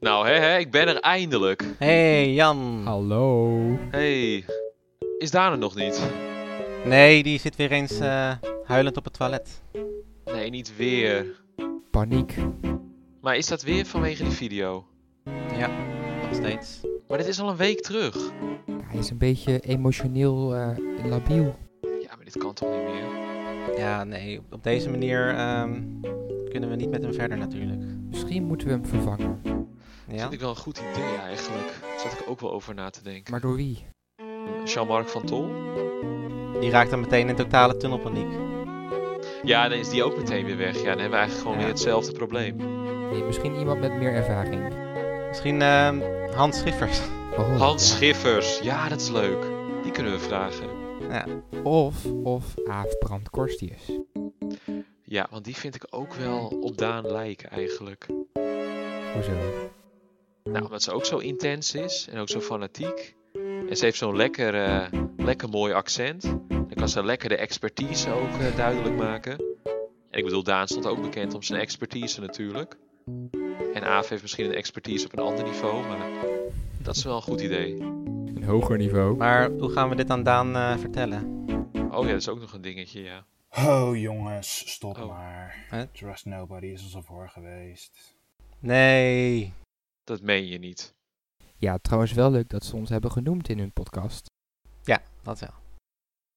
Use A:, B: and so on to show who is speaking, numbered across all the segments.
A: Nou, hè, hè, ik ben er eindelijk.
B: hey, Jan.
C: Hallo.
A: Hey, is Daan er nog niet?
B: Nee, die zit weer eens eh, huilend op het toilet.
A: Nee, niet weer.
C: Paniek.
A: Maar is dat weer vanwege die video?
B: Nog steeds.
A: Maar dit is al een week terug.
C: Hij is een beetje emotioneel eh, labiel.
A: Ja, maar dit kan toch niet meer?
B: Ja, nee, op- op deze manier ehm, kunnen we niet met hem verder natuurlijk.
C: Misschien moeten we hem vervangen.
A: Dat
B: Ja?
A: vind ik wel een goed idee eigenlijk. Daar zat ik ook wel over na te denken.
C: Maar door wie?
A: Jean-Marc van Tol?
B: Die raakt dan meteen in totale tunnelpaniek.
A: Ja, dan is die ook meteen weer weg. Ja, dan hebben we eigenlijk gewoon
B: Ja. Oh,
A: weer hetzelfde probleem.
C: Nee, misschien iemand met meer ervaring.
B: Misschien ehm, Hans Schiffers.
C: Oh,
A: Hans
C: ja.
A: Schiffers. Ja, dat is leuk. Die kunnen we vragen.
C: Of, of Aaf Brandkorstius.
A: Ja, want die vind ik ook wel op Daan lijken eigenlijk.
C: Hoezo?
A: Nou, omdat ze ook zo intens is en ook zo fanatiek. En ze heeft zo'n lekker, eh, lekker mooi accent. Dan kan ze lekker de expertise ook eh, duidelijk maken. En ik bedoel, Daan stond ook bekend om zijn expertise natuurlijk. En Aaf heeft misschien een expertise op een ander niveau, maar dat is wel een goed idee.
C: Een hoger niveau.
B: Maar hoe gaan we dit aan Daan eh, vertellen?
A: Oh ja, dat is ook nog een dingetje, ja.
D: Oh jongens, stop
A: Oh.
D: maar.
B: Hè?
D: Trust Nobody is ons al voor geweest.
B: Nee.
A: Dat meen je niet.
C: Ja, trouwens wel leuk dat ze ons hebben genoemd in hun podcast.
B: Ja, dat wel.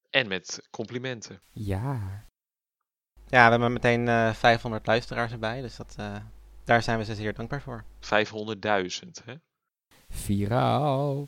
A: En met complimenten.
C: Ja.
B: Ja, we hebben meteen eh, 500 luisteraars erbij, dus dat, eh, daar zijn we ze zeer dankbaar voor.
A: 500.000, hè?
C: Viraal.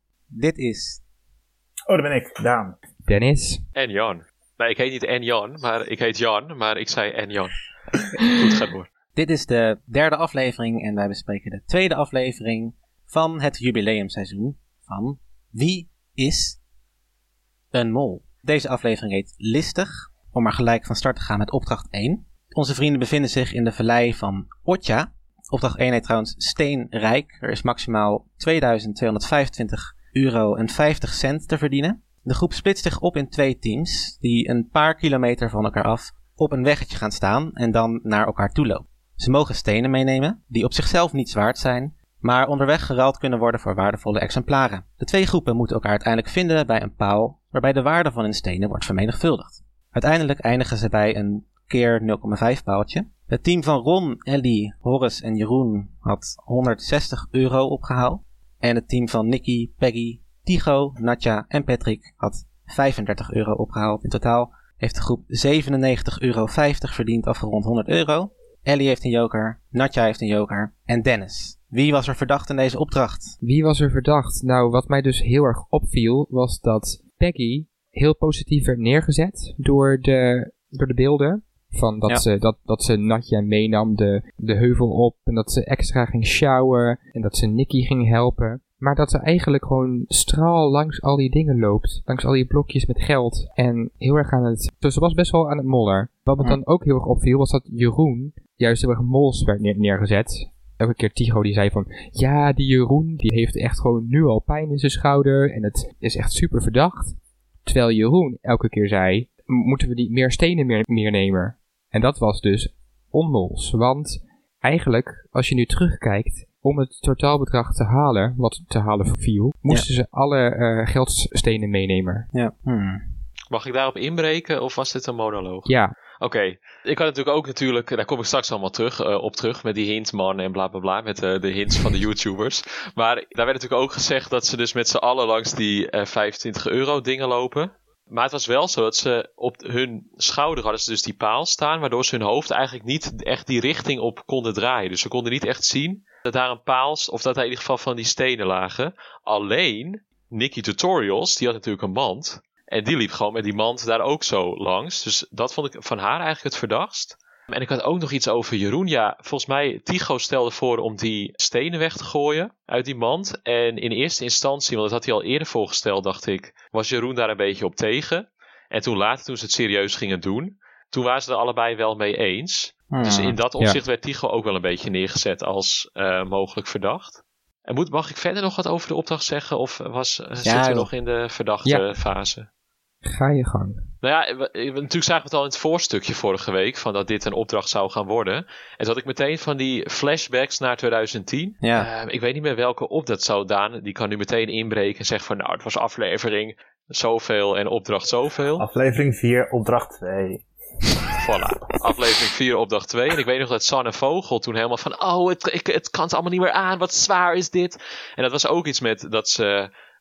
B: dit is...
D: Oh, daar ben ik, Daan.
C: Dennis.
A: En Jan. Nee, ik heet niet En Jan, maar ik heet Jan, maar ik zei En Jan. Goed, ga door.
B: Dit is de derde aflevering en wij bespreken de tweede aflevering van het jubileumseizoen van Wie is een mol? Deze aflevering heet Listig, om maar gelijk van start te gaan met opdracht 1. Onze vrienden bevinden zich in de vallei van Otja. Opdracht 1 heet trouwens Steenrijk. Er is maximaal 2225 euro en 50 cent te verdienen. De groep splitst zich op in twee teams die een paar kilometer van elkaar af op een weggetje gaan staan en dan naar elkaar toe lopen. Ze mogen stenen meenemen, die op zichzelf niets waard zijn, maar onderweg geruild kunnen worden voor waardevolle exemplaren. De twee groepen moeten elkaar uiteindelijk vinden bij een paal waarbij de waarde van hun stenen wordt vermenigvuldigd. Uiteindelijk eindigen ze bij een keer 0,5 paaltje. Het team van Ron, Ellie, Horace en Jeroen had 160 euro opgehaald. En het team van Nicky, Peggy, Tigo, Natja en Patrick had 35 euro opgehaald. In totaal heeft de groep 97,50 euro verdiend, afgerond 100 euro. Ellie heeft een joker, Natja heeft een joker en Dennis. Wie was er verdacht in deze opdracht?
C: Wie was er verdacht? Nou, wat mij dus heel erg opviel, was dat Peggy heel positief werd neergezet door de, door de beelden. Van dat,
B: Ja.
C: ze, dat, dat ze Natja meenam de, de heuvel op en dat ze extra ging sjouwen en dat ze Nicky ging helpen. Maar dat ze eigenlijk gewoon straal langs al die dingen loopt. Langs al die blokjes met geld. En heel erg aan het... Dus ze was best wel aan het mollen. Wat me
B: Hm.
C: dan ook heel erg opviel was dat Jeroen juist heel erg mols werd neer- neergezet. Elke keer Tigo die zei van... Ja, die Jeroen, die heeft echt gewoon nu al pijn in zijn schouder en het is echt super verdacht. Terwijl Jeroen elke keer zei, "M- moeten we niet meer stenen meer, meer nemen? En dat was dus onmols, want eigenlijk, als je nu terugkijkt, om het totaalbedrag te halen, wat te halen viel, moesten ze alle eh, geldstenen meenemen.
B: Ja. Hmm.
A: Mag ik daarop inbreken of was dit een monoloog?
C: Ja,
A: Oké, ik had natuurlijk ook natuurlijk, daar kom ik straks allemaal terug, eh, op terug met die hintman en bla bla bla, met eh, de hints van de YouTubers. Maar daar werd natuurlijk ook gezegd dat ze dus met z'n allen langs die eh 25 euro dingen lopen. Maar het was wel zo dat ze op hun schouder hadden ze dus die paal staan, waardoor ze hun hoofd eigenlijk niet echt die richting op konden draaien. Dus ze konden niet echt zien dat daar een paal, s- of dat daar in ieder geval van die stenen lagen. Alleen, Nicky Tutorials, die had natuurlijk een mand. En die liep gewoon met die mand daar ook zo langs. Dus dat vond ik van haar eigenlijk het verdachtst. En ik had ook nog iets over Jeroen. Ja, volgens mij, Tycho stelde voor om die stenen weg te gooien uit die mand. En in eerste instantie, want dat had hij al eerder voorgesteld, dacht ik, was Jeroen daar een beetje op tegen. En toen later, toen ze het serieus gingen doen, toen waren ze er allebei wel mee eens.
B: Hmm.
A: Dus in dat opzicht werd Tycho ook wel een beetje neergezet als eh, mogelijk verdacht. En moet, mag ik verder nog wat over de opdracht zeggen? Of was, zitten we
B: joh.
A: nog in de verdachte
C: Ja.
A: fase?
C: Ga je gang.
A: Nou ja, we- we- natuurlijk zagen we het al in het voorstukje vorige week van dat dit een opdracht zou gaan worden. En toen had ik meteen van die flashbacks naar 2010.
B: Ja.
A: Ehm, ik weet niet meer welke opdracht zou Daan. Die kan nu meteen inbreken en zeggen van nou, het was aflevering zoveel en opdracht zoveel.
D: Aflevering 4, opdracht 2.
A: Voilà. Aflevering 4, opdracht 2. En ik weet nog dat Sanne Vogel toen helemaal van... Oh, het, ik, het kan het allemaal niet meer aan. Wat zwaar is dit? En dat was ook iets met dat ze...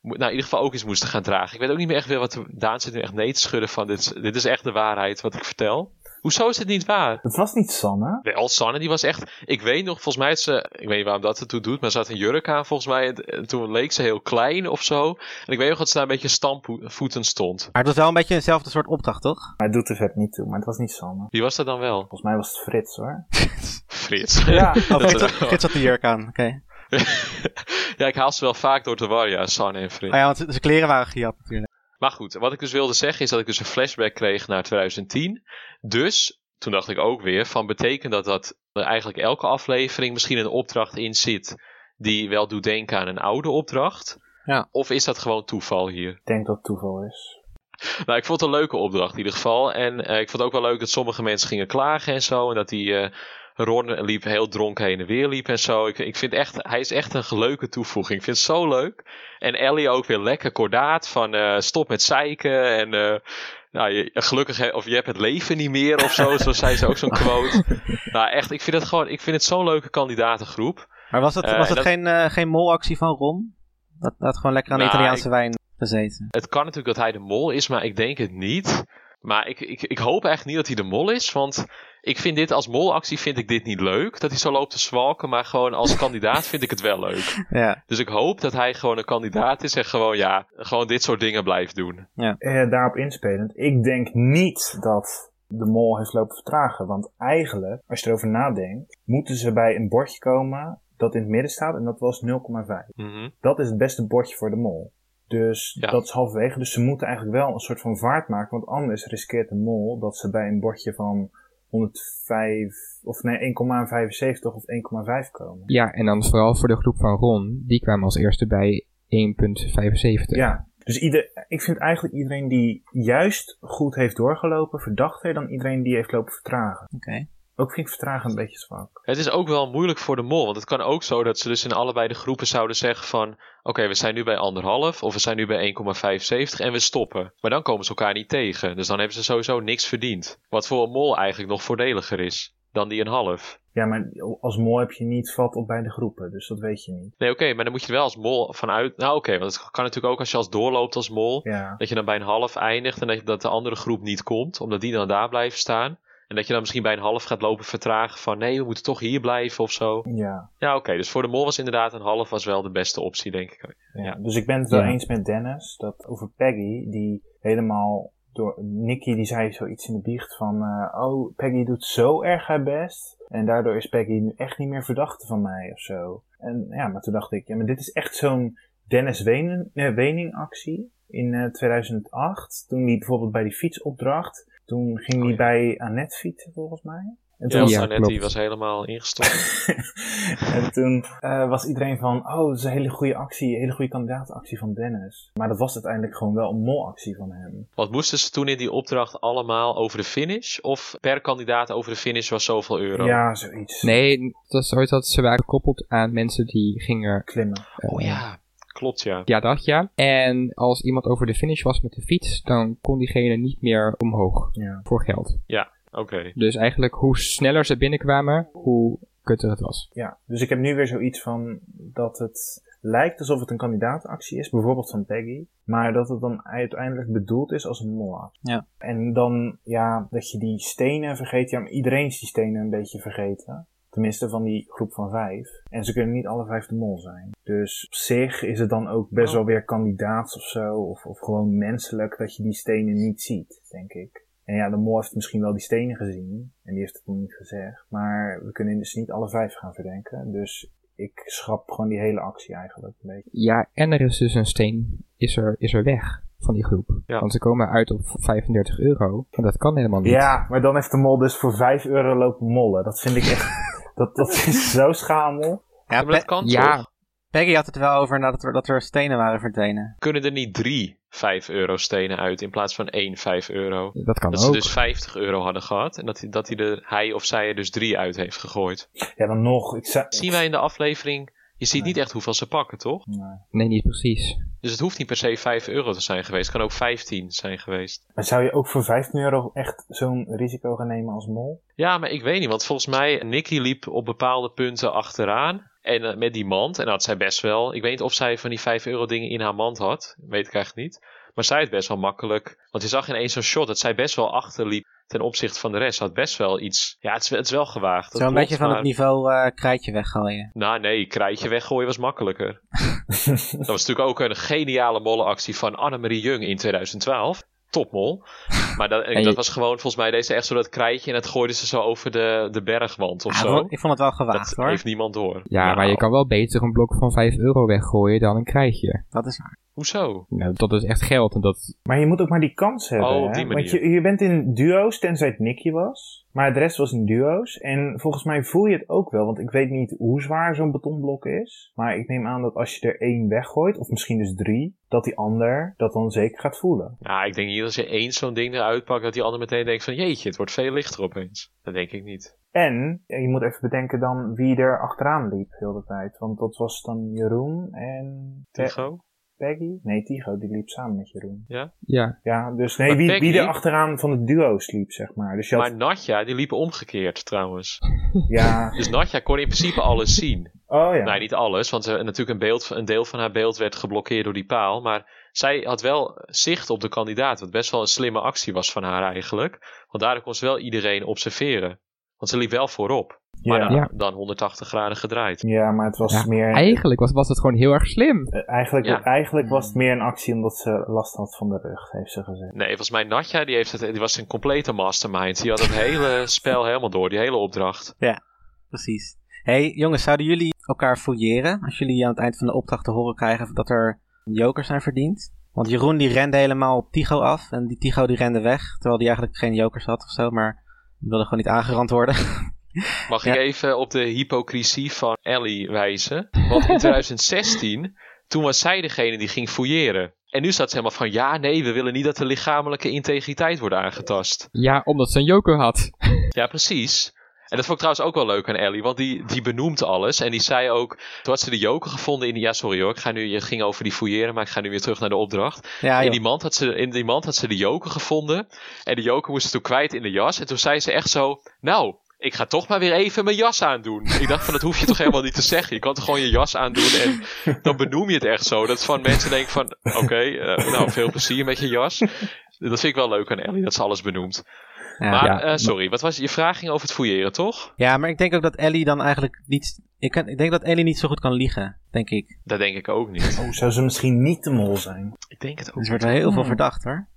A: mo- Nou, in ieder geval ook iets moesten gaan dragen. Ik weet ook niet meer echt weer wat... de- Daan zit nu echt nee te schudden van... Dit, is- dit is echt de waarheid wat ik vertel. Hoezo is dit niet waar?
D: Het was niet Sanne.
A: Wel, Sanne die was echt... Ik weet nog, volgens mij had ze... Ik weet niet waarom dat het toe doet, maar ze had een jurk aan volgens mij. En- En toen leek ze heel klein of zo. En ik weet nog dat ze daar een beetje stampvoeten stond.
B: Maar het was wel een beetje eenzelfde soort opdracht, toch?
D: Maar het doet er vet niet toe, maar het was niet Sanne.
A: Wie was dat dan wel?
D: Volgens mij was het Frits hoor.
A: Frits.
D: Ja,
B: Oh,
A: Dat- eh,
B: Frits had- Frits had de jurk aan, oké.
A: ja, ik haal ze wel vaak door de war, ja, San en Frits.
B: Oh ja, want z- zijn kleren waren gejat natuurlijk.
A: Maar goed, wat ik dus wilde zeggen is dat ik dus een flashback kreeg naar 2010. Dus toen dacht ik ook weer van betekent dat dat er eigenlijk elke aflevering misschien een opdracht in zit die wel doet denken aan een oude opdracht?
B: Ja.
A: Of is dat gewoon toeval hier?
D: ik denk dat het toeval is.
A: Nou, ik vond het een leuke opdracht in ieder geval. En eh, ik vond het ook wel leuk dat sommige mensen gingen klagen en zo. En dat die eh, Ron liep heel dronken heen en weer liep en zo. Ik, ik vind echt, hij is echt een leuke toevoeging. Ik vind het zo leuk. En Ellie ook weer lekker kordaat van eh, stop met zeiken en eh, nou, je, gelukkig he- of je hebt het leven niet meer of zo. zo zei ze ook zo'n quote. nou echt, ik vind het gewoon, ik vind het zo'n leuke kandidatengroep.
B: Maar was het,
A: Eh,
B: was het
A: dat-
B: geen, eh, geen molactie van Ron? Dat dat had gewoon lekker aan de
A: Nou,
B: Italiaanse wijn gezeten.
A: Het kan natuurlijk dat hij de mol is, maar ik denk het niet. Maar ik, ik, ik hoop echt niet dat hij de mol is, want ik vind dit als molactie vind ik dit niet leuk. Dat hij zo loopt te zwalken, maar gewoon als kandidaat vind ik het wel leuk.
B: Ja,
A: Dus ik hoop dat hij gewoon een kandidaat is en gewoon ja, gewoon dit soort dingen blijft doen.
D: Eh, daarop inspelend, ik denk niet dat de mol heeft lopen vertragen. Want eigenlijk, als je erover nadenkt, moeten ze bij een bordje komen dat in het midden staat en dat was 0,5.
A: Mhm.
D: dat is het beste bordje voor de mol. Dus
A: Ja.
D: dat is halverwege. Dus ze moeten eigenlijk wel een soort van vaart maken. Want anders riskeert de mol dat ze bij een bordje van 105 of nee, 1,75 of 1,5 komen.
C: Ja, en dan vooral voor de groep van Ron. Die kwamen als eerste bij 1,75.
D: Ja. Dus ieder, ik vind eigenlijk iedereen die juist goed heeft doorgelopen verdachter dan iedereen die heeft lopen vertragen.
B: oké.
D: Ook vind ik vertragen een beetje zwak.
A: Het is ook wel moeilijk voor de mol, want het kan ook zo dat ze dus in allebei de groepen zouden zeggen van... Oké, we zijn nu bij anderhalf of we zijn nu bij 1,75 en we stoppen. Maar dan komen ze elkaar niet tegen, dus dan hebben ze sowieso niks verdiend. Wat voor een mol eigenlijk nog voordeliger is dan die een half.
D: Ja, maar als mol heb je niet vat op beide groepen, dus dat weet je niet.
A: Nee, oké, maar dan moet je er wel als mol vanuit... Nou oké, want het kan natuurlijk ook als je als doorloopt als mol...
D: Ja.
A: Dat je dan bij een half eindigt en dat, je- dat de andere groep niet komt, omdat die dan daar blijven staan. En dat je dan misschien bij een half gaat lopen vertragen van... Nee, we moeten toch hier blijven of zo.
D: Ja.
A: Ja, oké. dus voor de mol was inderdaad een half was wel de beste optie, denk ik.
D: Ja.
A: Ja.
D: Dus ik ben het wel
C: Ja.
D: eens met Dennis dat over Peggy, die helemaal door Nicky, die zei zoiets in de biecht van: eh, Oh, Peggy doet zo erg haar best. En daardoor is Peggy nu echt niet meer verdachte van mij of zo. En ja, maar toen dacht ik: Ja, maar dit is echt zo'n Dennis Wenen, eh, Wening-actie in eh, 2008. Toen die bijvoorbeeld bij die fietsopdracht, toen ging die
A: ja.
D: bij Annette fietsen volgens mij.
A: Ja,
D: En toen
A: want
C: Ja,
A: Annette, die
C: klopt.
A: was helemaal ingestort.
D: en toen eh, was iedereen van, oh, dat is een hele goede actie, een hele goede kandidaatactie van Dennis. Maar dat was uiteindelijk gewoon wel een molactie van hem.
A: Wat moesten ze toen in die opdracht allemaal over de finish? Of per kandidaat over de finish was zoveel euro?
D: Ja, zoiets.
C: Nee, het was ooit dat ze waren gekoppeld aan mensen die gingen... eh,
D: Klimmen.
A: Oh ja, klopt ja.
C: Ja, dat ja. En als iemand over de finish was met de fiets, dan kon diegene niet meer omhoog
D: Ja.
C: voor geld.
A: Oké.
C: Dus eigenlijk hoe sneller ze binnenkwamen, hoe kutter het was.
D: ja. Dus ik heb nu weer zoiets van dat het lijkt alsof het een kandidaatactie is, bijvoorbeeld van Peggy. Maar dat het dan uiteindelijk bedoeld is als een molactie.
B: Ja.
D: En dan, ja, dat je die stenen vergeet. Ja, maar iedereen is die stenen een beetje vergeten. Tenminste, van die groep van vijf. En ze kunnen niet alle vijf de mol zijn. Dus op zich is het dan ook best wel weer kandidaats of zo. Of, of gewoon menselijk dat je die stenen niet ziet, denk ik. En ja, de mol heeft misschien wel die stenen gezien. En die heeft het nog niet gezegd. Maar we kunnen dus niet alle vijf gaan verdenken. Dus ik schrap gewoon die hele actie eigenlijk een beetje.
C: Ja, en er is dus een steen, is er, is er weg van die groep.
A: Ja.
C: Want ze komen uit op 35 euro. En dat kan helemaal niet.
D: Ja, maar dan heeft de mol dus voor 5 euro lopen mollen. Dat vind ik echt. dat, dat is zo schamel.
B: Ja,
A: maar dat
B: Pe-
A: kan
C: Ja.
A: toch?
B: Peggy had het er wel over nadat er, dat er stenen waren verdwenen.
A: Kunnen er niet drie 5 euro stenen uit in plaats van één 5 euro?
C: Dat kan
A: Dat ze
C: ook.
A: dus 50 euro hadden gehad en dat, hij- dat hij, er, hij of zij er dus drie uit heeft gegooid.
D: Ja, dan nog. Ik zou...
A: Zien wij in de aflevering, je ziet
D: Nee.
A: niet echt hoeveel ze pakken, toch?
C: Nee, niet precies.
A: Dus het hoeft niet per se 5 euro te zijn geweest, het kan ook 15 zijn geweest.
D: Maar zou je ook voor 15 euro echt zo'n risico gaan nemen als mol?
A: Ja, maar ik weet niet, want volgens mij, Nicky liep op bepaalde punten achteraan. En eh, met die mand, en dat had zij best wel. Ik weet niet of zij van die 5 euro dingen in haar mand had, weet ik eigenlijk niet. Maar zij had best wel makkelijk, want je zag ineens zo'n shot dat zij best wel achterliep ten opzichte van de rest. Had best wel iets, ja, het is, het is wel gewaagd. dat
B: Zo'n
A: klopt,
B: beetje van
A: maar-
B: het niveau eh, krijtje weggooien.
A: Nou nee, krijtje weggooien was makkelijker. dat was natuurlijk ook een geniale mollenactie van Annemarie Jung in 2012. Topmol. Maar dat,
C: je-
A: dat was gewoon volgens mij deze echt zo dat krijtje en dat gooiden ze zo over de, de bergwand of
C: Ah,
B: Ja,
A: zo.
B: ik vond het wel gewaagd
A: Dat
B: hoor.
A: heeft niemand door.
C: Ja,
A: Nou,
C: maar je kan wel beter een blok van 5 euro weggooien dan een krijtje.
B: Dat is waar.
A: Hoezo?
C: Nou, dat is echt geld. En dat,
D: Maar je moet ook maar die kans hebben.
A: Oh, op
D: hè?
A: die manier.
D: Want je, je bent in duo's, tenzij het Nicky was. Maar de rest was in duo's. En volgens mij voel je het ook wel. Want ik weet niet hoe zwaar zo'n betonblok is. Maar ik neem aan dat als je er één weggooit, of misschien dus drie, dat die ander dat dan zeker gaat voelen.
A: Nou, ik denk niet als je eens zo'n ding eruit pakt dat die ander meteen denkt van jeetje, het wordt veel lichter opeens. Dat denk ik niet.
D: En je moet even bedenken dan wie er achteraan liep heel de hele tijd. Want dat was dan Jeroen en
C: Eh,
D: Pe-
A: Tigo?
D: Peggy? Nee, Tigo, die liep samen met Jeroen.
C: ja.
D: Ja, dus nee,
A: Maar
D: wie,
A: Peggy-
D: wie er achteraan van de duo's liep, zeg maar. Dus je had,
A: Maar Natja, die liep omgekeerd trouwens.
D: ja,
A: Dus Natja kon in principe alles zien.
D: oh ja.
A: Nee, niet alles, want eh, natuurlijk een, beeld, een deel van haar beeld werd geblokkeerd door die paal. Maar zij had wel zicht op de kandidaat, wat best wel een slimme actie was van haar eigenlijk. Want daardoor kon ze wel iedereen observeren. Want ze liep wel voorop,
D: ja.
A: maar dan,
C: Ja.
A: dan 180 graden gedraaid.
D: Ja, maar het was
C: Ja,
D: meer.
C: Eigenlijk was, was het gewoon heel erg slim.
D: eh, eigenlijk,
A: Ja.
D: eigenlijk was het meer een actie omdat ze last had van de rug, heeft ze gezegd.
A: Nee, volgens mij Natja, die, heeft het, die was een complete mastermind. Die had het hele spel helemaal door, die hele opdracht.
B: Precies. hey, jongens, zouden jullie elkaar fouilleren als jullie aan het eind van de opdracht te horen krijgen dat er jokers zijn verdiend? Want Jeroen die rende helemaal op Tigo af en die Tigo die rende weg, terwijl die eigenlijk geen jokers had of zo, maar die wilde gewoon niet aangerand worden.
A: Mag
B: Ja.
A: ik even op de hypocrisie van Ellie wijzen? Want in 2016, toen was zij degene die ging fouilleren. En nu staat ze helemaal van, ja, nee, we willen niet dat de lichamelijke integriteit wordt aangetast.
C: Ja, omdat ze een joker had.
A: Ja, precies. En dat vond ik trouwens ook wel leuk aan Ellie, want die, die benoemt alles. En die zei ook, toen had ze de joker gevonden in... die- Ja, sorry hoor, ik ga nu, je ging over die fouilleren, maar ik ga nu weer terug naar de opdracht.
B: Ja,
A: In
B: Ah, joh.
A: die, mand had ze, in die mand had ze de joker gevonden. En de joker moest ze toen kwijt in de jas. En toen zei ze echt zo: Nou, ik ga toch maar weer even mijn jas aandoen. Ik dacht van, dat hoef je toch helemaal niet te zeggen. Je kan toch gewoon je jas aandoen en dan benoem je het echt zo. Dat van mensen denken van, oké, eh, nou, veel plezier met je jas. Dat vind ik wel leuk aan Ellie, dat ze alles benoemt.
B: Ja.
A: maar,
C: ja.
A: eh, sorry, wat was je vraag ging over het fouilleren, toch?
B: Ja, maar ik denk ook dat Ellie dan eigenlijk niet. Ik, kan- ik denk dat Ellie niet zo goed kan liegen, denk ik.
A: Dat denk ik ook niet.
D: Oh, zou ze misschien niet de mol zijn?
A: Ik denk het ook
B: Dus er
A: niet.
B: wordt wel heel veel verdacht hoor.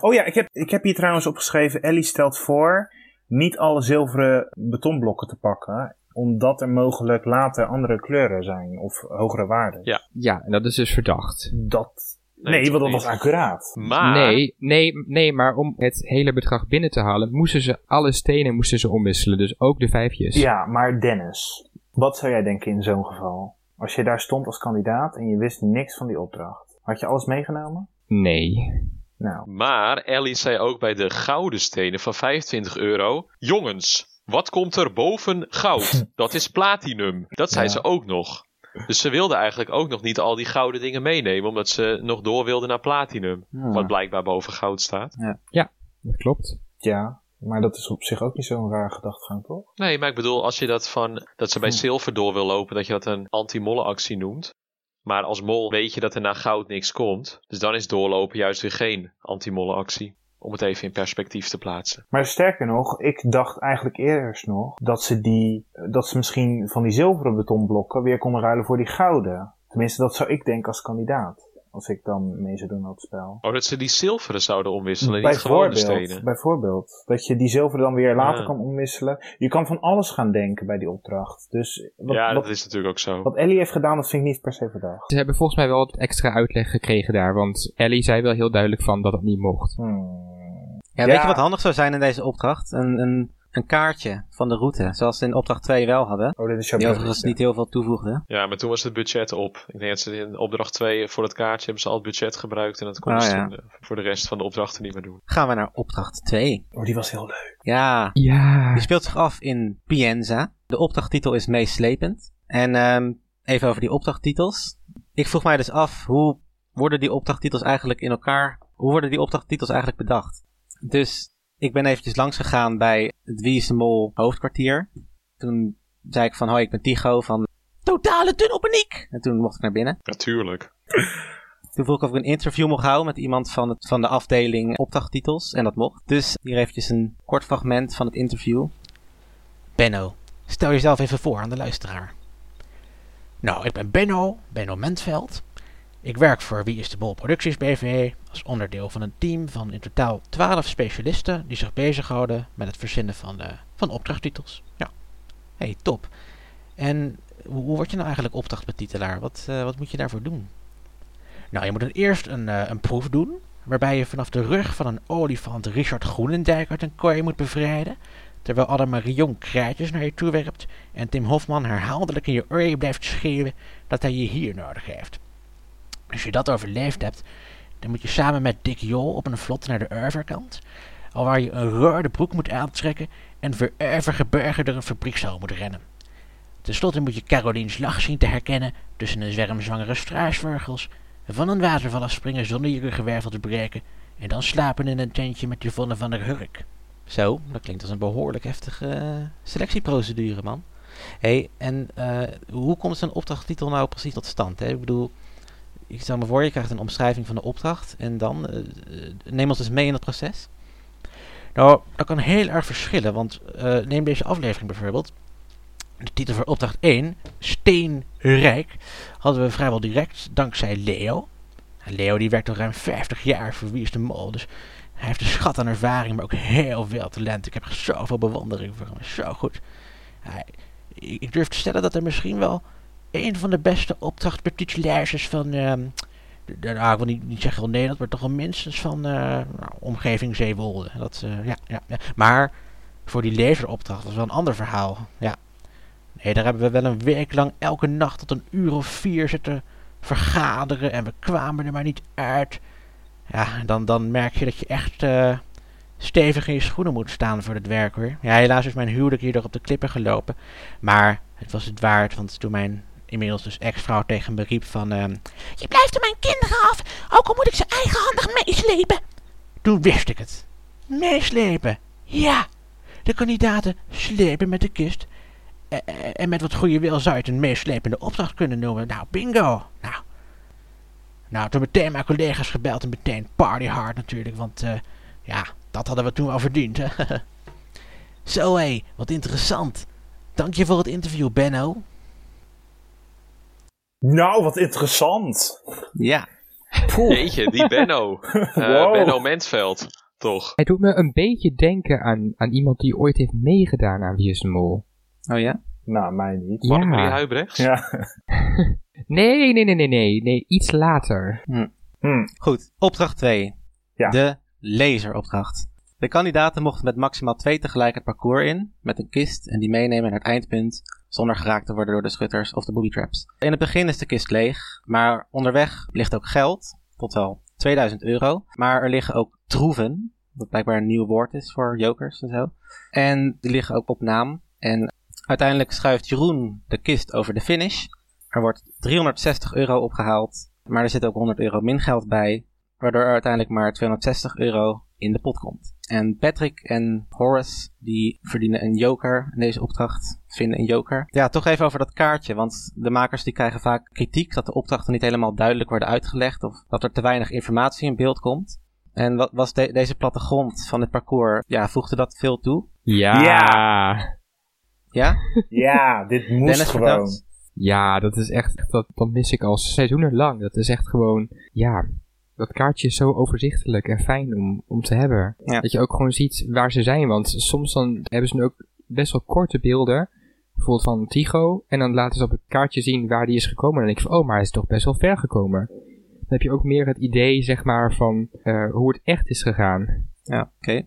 D: Oh ja, ik heb, ik heb hier trouwens opgeschreven: Ellie stelt voor niet alle zilveren betonblokken te pakken, omdat er mogelijk later andere kleuren zijn of hogere waarden.
A: Ja.
C: Ja, en dat is dus verdacht.
D: Dat.
A: Nee, toch
D: Nee, want dat
A: niet.
D: was accuraat.
A: Maar,
C: Nee, nee, nee, maar om het hele bedrag binnen te halen, moesten ze alle stenen moesten ze omwisselen. Dus ook de vijfjes.
D: Ja, maar Dennis, wat zou jij denken in zo'n geval? Als je daar stond als kandidaat en je wist niks van die opdracht, had je alles meegenomen?
C: Nee.
D: Nou,
A: Maar Ellie zei ook bij de gouden stenen van 25 euro: Jongens, wat komt er boven goud? Dat is platinum. Dat zei
D: Ja.
A: ze ook nog. Dus ze wilde eigenlijk ook nog niet al die gouden dingen meenemen, omdat ze nog door wilde naar platinum.
B: Hmm.
A: Wat blijkbaar boven goud staat.
C: Dat klopt.
D: ja, maar dat is op zich ook niet zo'n raar gedachtegang, toch?
A: Nee, maar ik bedoel, als je dat van dat ze bij zilver door wil lopen, dat je dat een anti-mollenactie noemt. Maar als mol weet je dat er naar goud niks komt. Dus dan is doorlopen juist weer geen anti-mollenactie. Om het even in perspectief te plaatsen.
D: Maar sterker nog, ik dacht eigenlijk eerst nog dat ze, die, dat ze misschien van die zilveren betonblokken weer konden ruilen voor die gouden. Tenminste, dat zou ik denken als kandidaat. Als ik dan mee zou doen aan het spel.
A: Oh, dat ze die zilveren zouden omwisselen, en niet gewone
D: Bijvoorbeeld,
A: stenen.
D: bijvoorbeeld, dat je die zilveren dan weer later
A: Ja.
D: kan omwisselen. Je kan van alles gaan denken bij die opdracht. Dus wat,
A: ja,
D: wat,
A: dat is natuurlijk ook zo.
D: wat Ellie heeft gedaan, dat vind ik niet per se verdacht.
C: Ze hebben volgens mij wel wat extra uitleg gekregen daar, want Ellie zei wel heel duidelijk van dat het niet mocht.
D: Hmm.
B: Ja,
D: Ja.
B: Weet je wat handig zou zijn in deze opdracht? Een, een, een kaartje van de route, zoals ze in opdracht 2 wel hadden.
D: Oh, dit is jouw
B: Die overigens
D: bruggetje.
B: niet heel veel toevoegde.
A: Ja, maar toen was het budget op. Ik denk dat ze in opdracht 2 voor het kaartje hebben ze al het budget gebruikt. En dat konden
B: Ah,
A: ze
B: ja.
A: toen, eh, voor de rest van de opdrachten niet meer doen.
B: Gaan we naar opdracht 2.
D: Oh, die was heel leuk.
B: Ja,
C: Ja.
B: die speelt zich af in Pienza. De opdrachttitel is meeslepend. En ehm, even over die opdrachttitels. Ik vroeg mij dus af, hoe worden die opdrachttitels eigenlijk in elkaar... Hoe worden die opdrachttitels eigenlijk bedacht? Dus ik ben eventjes langs gegaan bij het Wie is de Mol hoofdkwartier. Toen zei ik van, hoi, ik ben Tigo van... Totale tunnelpaniek! En toen mocht ik naar binnen.
A: Natuurlijk.
B: Toen vroeg ik of ik een interview mocht houden met iemand van, het, van de afdeling opdrachttitels. En dat mocht. Dus hier eventjes een kort fragment van het interview.
E: Benno, stel jezelf even voor aan de luisteraar. Nou, ik ben Benno, Benno Mentveld. Ik werk voor Wie is de Mol Producties BV als onderdeel van een team van in totaal 12 specialisten die zich bezighouden met het verzinnen van, eh, van opdrachttitels. Ja, hey, top. En hoe, hoe word je nou eigenlijk opdrachtbetitelaar? Wat, eh, wat moet je daarvoor doen? Nou, je moet dan eerst een, eh, een proef doen, waarbij je vanaf de rug van een olifant Richard Groenendijk uit een kooi moet bevrijden terwijl Anne-Marion kraatjes naar je toe werpt en Tim Hofman herhaaldelijk in je oor blijft schreeuwen dat hij je hier nodig heeft. Als je dat overleefd hebt, dan moet je samen met Dick Jol op een vlot naar de overkant, alwaar je een rode broek moet aantrekken en verervige burger door een fabriekszaal moet rennen. Ten slotte moet je Carolien's lach zien te herkennen tussen een zwerm zwangere struisvogels, van een waterval afspringen zonder je ruggenwervel te breken en dan slapen in een tentje met Yvonne van der Hurk. Zo, dat klinkt als een behoorlijk heftige eh, selectieprocedure, man. Hé, hey, en eh, hoe komt zo'n opdrachttitel nou precies tot stand? Hè? Ik bedoel, ik stel me voor, je krijgt een omschrijving van de opdracht en dan eh, eh, neem ons dus mee in dat proces. Nou, dat kan heel erg verschillen, want eh, neem deze aflevering bijvoorbeeld. De titel voor opdracht 1, Steenrijk, hadden we vrijwel direct dankzij Leo. En Leo die werkt al ruim 50 jaar voor Wie is de Mol, dus hij heeft een schat aan ervaring, maar ook heel veel talent. Ik heb zoveel bewondering voor hem. Zo goed. Hij, ik, ik durf te stellen dat hij misschien wel een van de beste opdrachtpetitielaars is van... ehm, de- de- nou, ik wil niet, niet zeggen heel Nederland, maar toch wel minstens van eh, nou, omgeving Zeewolde. Dat, eh, ja, ja, ja. Maar voor die lezeropdracht was wel een ander verhaal. Ja. Nee, daar hebben we wel een week lang elke nacht tot een uur of vier zitten vergaderen. En we kwamen er maar niet uit. Ja, dan, dan merk je dat je echt eh, stevig in je schoenen moet staan voor dit werk hoor. Ja, helaas is mijn huwelijk hierdoor op de klippen gelopen. Maar het was het waard, want toen mijn inmiddels dus ex-vrouw tegen me riep van... ehm, je blijft er mijn kinderen af, ook al moet ik ze eigenhandig meeslepen. Toen wist ik het. Meeslepen. Ja, de kandidaten slepen met de kist. E- e- en met wat goede wil zou je het een meeslepende opdracht kunnen noemen. Nou, bingo. Nou, nou, toen meteen mijn collega's gebeld en meteen party hard natuurlijk, want eh, ja, dat hadden we toen wel verdiend. Hè? Zo hé, wat interessant. Dank je voor het interview, Benno.
D: Nou, wat interessant.
B: Ja,
A: Jeetje, die Benno. Eh,
D: Wow.
A: Benno Mentveld, toch?
C: Hij doet me een beetje denken aan, aan iemand die ooit heeft meegedaan aan Wie is de Mol.
B: oh ja?
D: Nou, mij niet.
C: Ja.
A: Mark-Marie Huibrechts?
D: Ja.
C: Nee, nee, nee, nee, nee, nee, iets later.
D: Hm.
B: Goed, opdracht 2.
D: Ja.
B: De laseropdracht. De kandidaten mochten met maximaal twee tegelijk het parcours in, met een kist en die meenemen naar het eindpunt, zonder geraakt te worden door de schutters of de booby-traps. In het begin is de kist leeg, maar onderweg ligt ook geld, tot wel 2000 euro. Maar er liggen ook troeven, wat blijkbaar een nieuw woord is voor jokers en zo. En die liggen ook op naam. En uiteindelijk schuift Jeroen de kist over de finish. Er wordt 360 euro opgehaald, maar er zit ook 100 euro min geld bij, waardoor er uiteindelijk maar 260 euro in de pot komt. En Patrick en Horace, die verdienen een joker in deze opdracht, vinden een joker. Ja, toch even over dat kaartje, want de makers die krijgen vaak kritiek dat de opdrachten niet helemaal duidelijk worden uitgelegd of dat er te weinig informatie in beeld komt. Eh, En wat was de- deze plattegrond van het parcours, ja, voegde dat veel toe?
C: Ja. ja.
B: Ja?
D: Ja, dit moest gewoon.
B: vertelt.
C: dat is echt, dat, dat mis ik al seizoenen lang. Dat is echt gewoon, ja, dat kaartje is zo overzichtelijk en fijn om, om te hebben.
B: Ja.
C: Dat je ook gewoon ziet waar ze zijn, want soms dan hebben ze nu ook best wel korte beelden. Bijvoorbeeld van Tigo. En dan laten ze op het kaartje zien waar die is gekomen. En dan denk je van, oh, maar hij is toch best wel ver gekomen. Dan heb je ook meer het idee, zeg maar, van eh, hoe het echt is gegaan.
B: Ja, oké.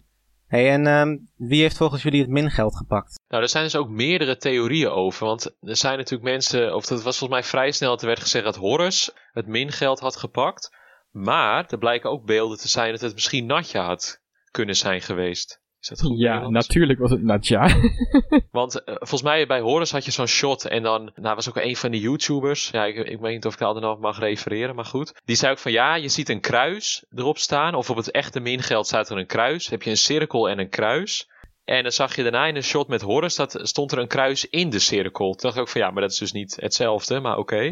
B: Hey, en ehm, wie heeft volgens jullie het min geld gepakt?
A: Nou, er zijn dus ook meerdere theorieën over. Want er zijn natuurlijk mensen, of dat was volgens mij vrij snel, dat er werd gezegd dat Horus het mingeld had gepakt. Maar er blijken ook beelden te zijn dat het misschien Natja had kunnen zijn geweest. Is dat goed? Nederlands?
C: natuurlijk was het Natja.
A: Want eh, volgens mij bij Horus had je zo'n shot en dan nou, was ook een van die YouTubers. Ja, ik, ik weet niet of ik daar nog mag refereren, maar goed. Die zei ook van ja, je ziet een kruis erop staan. Of op het echte mingeld staat er een kruis. Heb je een cirkel en een kruis. En dan zag je daarna in een shot met Horus, dat stond er een kruis in de cirkel. Toen dacht ik ook van ja, maar dat is dus niet hetzelfde, maar oké.